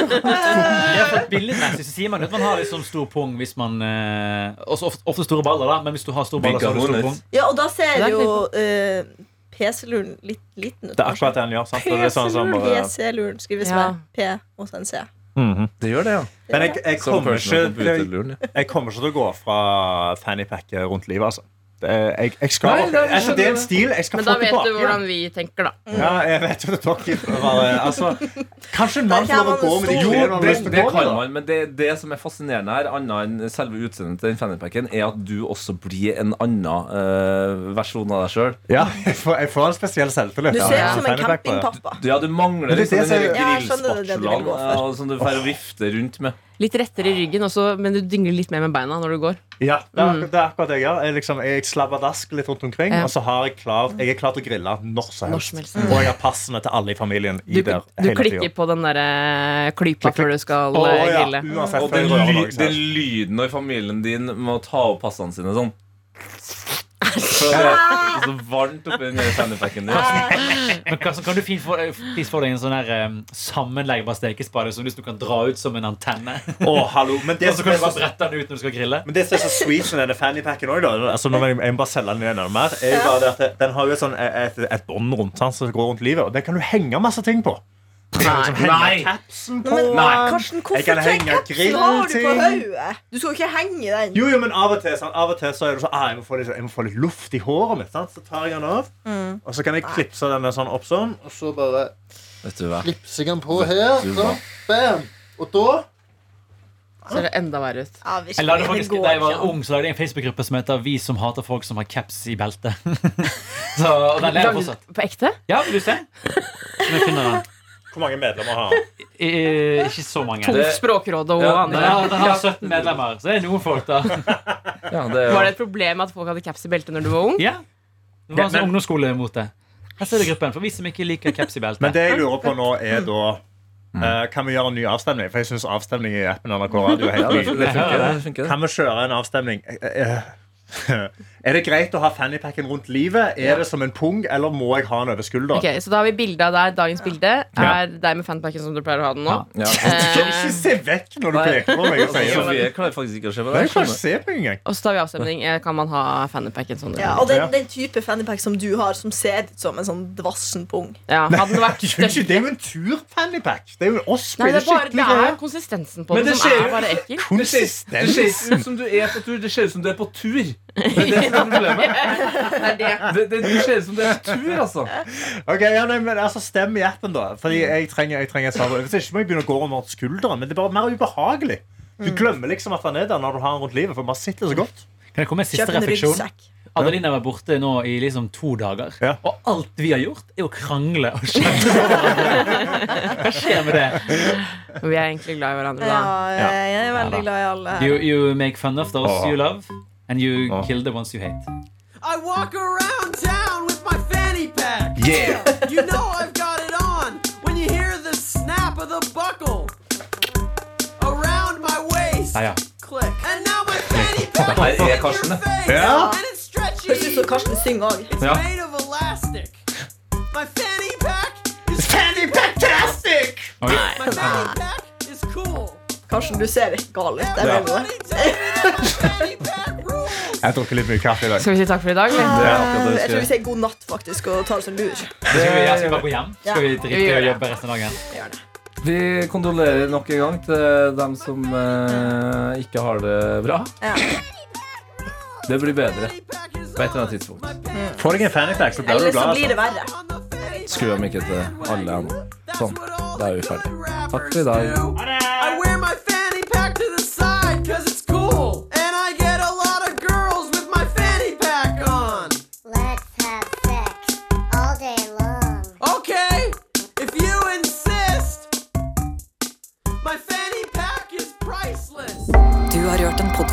Speaker 3: Ja, for Billedmessig så sier man jo at man har liksom stor pung hvis man eh, Også ofte, ofte store baller, da, men hvis du har store baller, så har du stor
Speaker 2: Bigahones.
Speaker 3: pung.
Speaker 5: Ja, og da ser
Speaker 6: Det er
Speaker 5: jo eh, PC-luren litt liten ut.
Speaker 4: Det er akkurat det han gjør. sant? Og det er sånn som,
Speaker 5: PC-luren
Speaker 4: eh,
Speaker 5: PC-luren skrives
Speaker 6: Ja.
Speaker 5: med P og så en C.
Speaker 4: mhm.
Speaker 2: Det gjør det, ja.
Speaker 4: Men jeg, jeg,
Speaker 2: Som
Speaker 4: kommer
Speaker 2: personal
Speaker 4: ikke, jeg,
Speaker 2: computer-luren, ja.
Speaker 4: jeg kommer ikke til å gå fra fannypacket rundt livet, altså. Det er, jeg, jeg skal,
Speaker 2: Nei, nei, jeg
Speaker 4: altså, det er en stil jeg skal
Speaker 6: Men da
Speaker 4: få
Speaker 6: vet
Speaker 4: tilbake.
Speaker 6: du hvordan vi tenker, da.
Speaker 4: Ja, jeg vet jo det er dere prøver, altså, Kanskje en mann
Speaker 5: Der
Speaker 4: får lov å
Speaker 5: kan
Speaker 4: gå
Speaker 5: man
Speaker 4: med
Speaker 2: Jo, det,
Speaker 5: stå-
Speaker 4: de klærne han har lyst til
Speaker 2: det
Speaker 4: å gå
Speaker 2: kan
Speaker 4: med. da.
Speaker 2: man, men det, det som er fascinerende her, annet enn selve utseendet til den fannypacken, er at du også blir en annen eh, versjon av deg sjøl.
Speaker 4: Ja, jeg får, jeg får en spesiell selvtillit.
Speaker 5: Du
Speaker 4: av
Speaker 5: ser
Speaker 4: å
Speaker 5: ut
Speaker 4: ha
Speaker 5: som en
Speaker 4: fannypack på, ja.
Speaker 5: campingpappa.
Speaker 2: Ja, du mangler
Speaker 4: Men det er
Speaker 2: liksom
Speaker 4: det
Speaker 2: den
Speaker 4: som-
Speaker 2: der
Speaker 5: Ja, jeg skjønner det er det du vil
Speaker 2: grillspartselaen
Speaker 5: gå for.
Speaker 2: eh, som du får å vifte rundt med.
Speaker 6: Litt rettere i ryggen også, men du dingler litt mer med beina når du går.
Speaker 4: Ja, det er, akkurat- det er akkurat det jeg gjør. Jeg, liksom, jeg slapper dask litt rundt omkring,
Speaker 6: Mm. Ja.
Speaker 4: og så har jeg klar, jeg er klar til å grille når som
Speaker 6: Når
Speaker 4: helst.
Speaker 6: som helst.
Speaker 4: Og jeg har passene til alle i familien i
Speaker 6: Du,
Speaker 4: der
Speaker 6: du
Speaker 4: hele
Speaker 6: klikker
Speaker 4: tida.
Speaker 6: på den der eh, klypa før du skal
Speaker 4: Å,
Speaker 6: eh,
Speaker 4: ja,
Speaker 6: grille.
Speaker 4: uansett,
Speaker 2: Og
Speaker 4: før jeg
Speaker 2: den,
Speaker 4: rører
Speaker 2: ly,
Speaker 4: noe som
Speaker 2: den
Speaker 4: helst.
Speaker 2: lyden når familien din må ta opp passene sine sånn. Så det er så varmt oppi den der fannypacken din.
Speaker 3: Men Karsten, kan du fint få, please få deg en sånn her um, sammenleggbar stekespade som du liksom kan dra ut som en antenne?
Speaker 4: Å, hallo. Men det
Speaker 3: Og så
Speaker 4: som
Speaker 3: kan
Speaker 4: er
Speaker 3: du bare
Speaker 4: så-
Speaker 3: brette den ut når du skal grille?
Speaker 4: men det som er så sweet med denne fannypacken òg, altså, nå må jeg, jeg må bare selge den igjen enda mer, er jo bare det at det- den har jo et, sånn- et, et bånd rundt den som går rundt livet, og den kan du henge masse ting på.
Speaker 6: Nei.
Speaker 3: Nei!
Speaker 4: Capsen på
Speaker 5: Men
Speaker 4: den.
Speaker 5: Karsten,
Speaker 4: Jeg kan
Speaker 5: hvorfor trenger
Speaker 4: henge
Speaker 5: kapsen har du på
Speaker 4: grillting.
Speaker 5: hodet? Du skal jo ikke henge i den.
Speaker 4: Jo, jo, men av og til, sant? Av og til så er det sånn ah, jeg, må få litt, jeg må få litt luft i håret mitt. Sant? Så tar jeg den av,
Speaker 5: Mm.
Speaker 4: og så kan jeg klipse den der sånn opp sånn.
Speaker 7: Og så bare
Speaker 2: Vet du hva?
Speaker 7: klipser jeg den på her.
Speaker 2: du
Speaker 7: Så,
Speaker 2: hva?
Speaker 7: bam. Og da
Speaker 6: Ser det enda verre ut.
Speaker 5: Ja,
Speaker 3: Jeg
Speaker 5: virkelig,
Speaker 3: lagde faktisk,
Speaker 5: går
Speaker 3: da jeg var
Speaker 5: ikke an.
Speaker 3: ung, så lagde jeg en Facebook-gruppe som heter Vi som hater folk som har caps i beltet. <laughs> så og den lever
Speaker 6: Lagde-
Speaker 3: fortsatt.
Speaker 6: På ekte?
Speaker 3: Ja, vil du se? Om jeg finner den.
Speaker 4: Hvor mange medlemmer har han?
Speaker 3: I, i- ikke så mange.
Speaker 6: To
Speaker 2: Det-
Speaker 6: språkråd og
Speaker 2: Ja,
Speaker 3: Den
Speaker 6: andre.
Speaker 3: har, den har 17 medlemmer, så det er noen folk, da.
Speaker 2: Ja, det er jo
Speaker 6: Var det et problem at folk hadde caps i beltet når du var ung?
Speaker 3: Ja. Det var en sånn ungdomsskole mot det. Her ser du gruppen, for vi som ikke liker caps i
Speaker 4: Men
Speaker 3: beltet.
Speaker 4: det jeg lurer på nå, er da eh, Kan vi gjøre en ny avstemning? For jeg syns avstemning i appen NRK Radio er
Speaker 2: Ja, det,
Speaker 4: helt
Speaker 2: fun-
Speaker 4: ny.
Speaker 2: det funker. Det funker.
Speaker 4: Kan vi kjøre en avstemning? Eh, eh, eh. Er det greit å ha fannypacken rundt livet? Er det som en pung, eller må jeg ha den over skulderen?
Speaker 6: Ok, Så da har vi bildet av deg. Dagens bilde er deg med fanpacken som du pleier å ha den nå.
Speaker 2: Ja.
Speaker 4: Ikke se vekk når du
Speaker 2: Nei.
Speaker 4: peker på meg og
Speaker 2: Altså,
Speaker 4: sier det.
Speaker 2: Sofie klarer faktisk ikke å se på
Speaker 4: Nei,
Speaker 2: det.
Speaker 4: Jeg klarer ikke å se på meg engang.
Speaker 6: Og så tar vi avstemning. Eh, Kan man ha fanpacken som du
Speaker 5: Ja, og den, den type fannypack som du har, som ser ut som en sånn dvassen pung.
Speaker 6: Ja, hadde
Speaker 2: <laughs>
Speaker 6: den vært
Speaker 4: Gjør ikke- Det er
Speaker 6: større
Speaker 4: jo en tur-fannypack. Det er jo en Osprey.
Speaker 6: Nei, det er bare det
Speaker 4: skikkelig
Speaker 6: er
Speaker 4: greie.
Speaker 6: konsistensen på
Speaker 2: Men
Speaker 6: den
Speaker 2: det
Speaker 6: som
Speaker 2: skjer
Speaker 6: er
Speaker 2: jo.
Speaker 6: bare ekkel.
Speaker 2: Det ser det ser ikke
Speaker 4: Konsistensen.
Speaker 2: ut som du er på tur, det ser ut som du er på tur. Det er det som er problemet. <laughs> Det, det, det ser ut som du er på tur, altså.
Speaker 4: Ok, ja, nei, men altså Stem i appen, da. Fordi jeg trenger, jeg trenger et svar. Hvis ikke må jeg begynne å gå rundt skulderen. Men det er bare mer ubehagelig. Du glemmer liksom at han er der når du har han rundt livet, for man sitter så godt.
Speaker 3: Kan jeg komme med en
Speaker 5: Kjøp
Speaker 3: siste
Speaker 5: en
Speaker 3: refleksjon?
Speaker 5: ryggsekk.
Speaker 3: Adelina var borte nå i liksom to dager.
Speaker 4: Ja.
Speaker 3: Og alt vi har gjort, er å krangle og kjefte på hverandre. Hva skjer med det?
Speaker 6: Vi er egentlig glad i hverandre
Speaker 5: Ja,
Speaker 6: da.
Speaker 5: jeg er
Speaker 3: Ja da.
Speaker 5: veldig glad i alle her.
Speaker 3: You, you make fun of those you love, and you
Speaker 2: Åh.
Speaker 3: kill the ones you hate.
Speaker 8: I walk around town with my fanny pack.
Speaker 2: Yeah.
Speaker 8: You know I've got it on when you hear the snap of the buckle around my waist.
Speaker 3: Ja, ja.
Speaker 8: Click. And now my fanny pack
Speaker 2: Nei,
Speaker 8: is in
Speaker 2: det er
Speaker 8: your
Speaker 2: Karsten, det.
Speaker 8: face.
Speaker 4: Ja.
Speaker 8: And it's stretchy.
Speaker 5: Høres ut som Karsten synger òg.
Speaker 8: It's
Speaker 2: Ja.
Speaker 8: made of elastic. My fanny pack is
Speaker 3: Oi.
Speaker 8: my fanny pack is cool.
Speaker 5: Karsten, du ser ikke gal ut. Jeg mener det.
Speaker 8: Everybody tell me that my fanny
Speaker 4: <laughs>
Speaker 8: pack rules.
Speaker 4: Jeg drukker litt mye kaffe i dag.
Speaker 6: Skal vi si takk for i dag? eller?
Speaker 2: akkurat det du
Speaker 5: Jeg tror
Speaker 2: sier.
Speaker 5: vi sier god natt faktisk og tar oss en lur.
Speaker 3: Skal vi, ja, skal vi bare gå hjem? Skal vi drite
Speaker 6: Vi
Speaker 3: i
Speaker 6: gjør
Speaker 3: å
Speaker 6: det.
Speaker 3: jobbe resten av dagen?
Speaker 2: Vi kondolerer nok en gang til dem som eh, ikke har det bra.
Speaker 5: Ja.
Speaker 2: Det blir bedre på et eller annet tidspunkt.
Speaker 4: Få deg en fannypack, så blir du
Speaker 5: Ellers så
Speaker 4: glad.
Speaker 5: blir
Speaker 4: Altså.
Speaker 5: det verre.
Speaker 2: Skru av mikken til alle her nå. Sånn. Da er vi ferdige. Takk for i dag.
Speaker 8: I wear my fanny pack to the side cause it's cool. And I get a lot of girls with my fanny pack on.
Speaker 9: Let's have sex all day long.
Speaker 8: Okay, if you insist, my fanny pack is priceless.
Speaker 1: Du har hørt en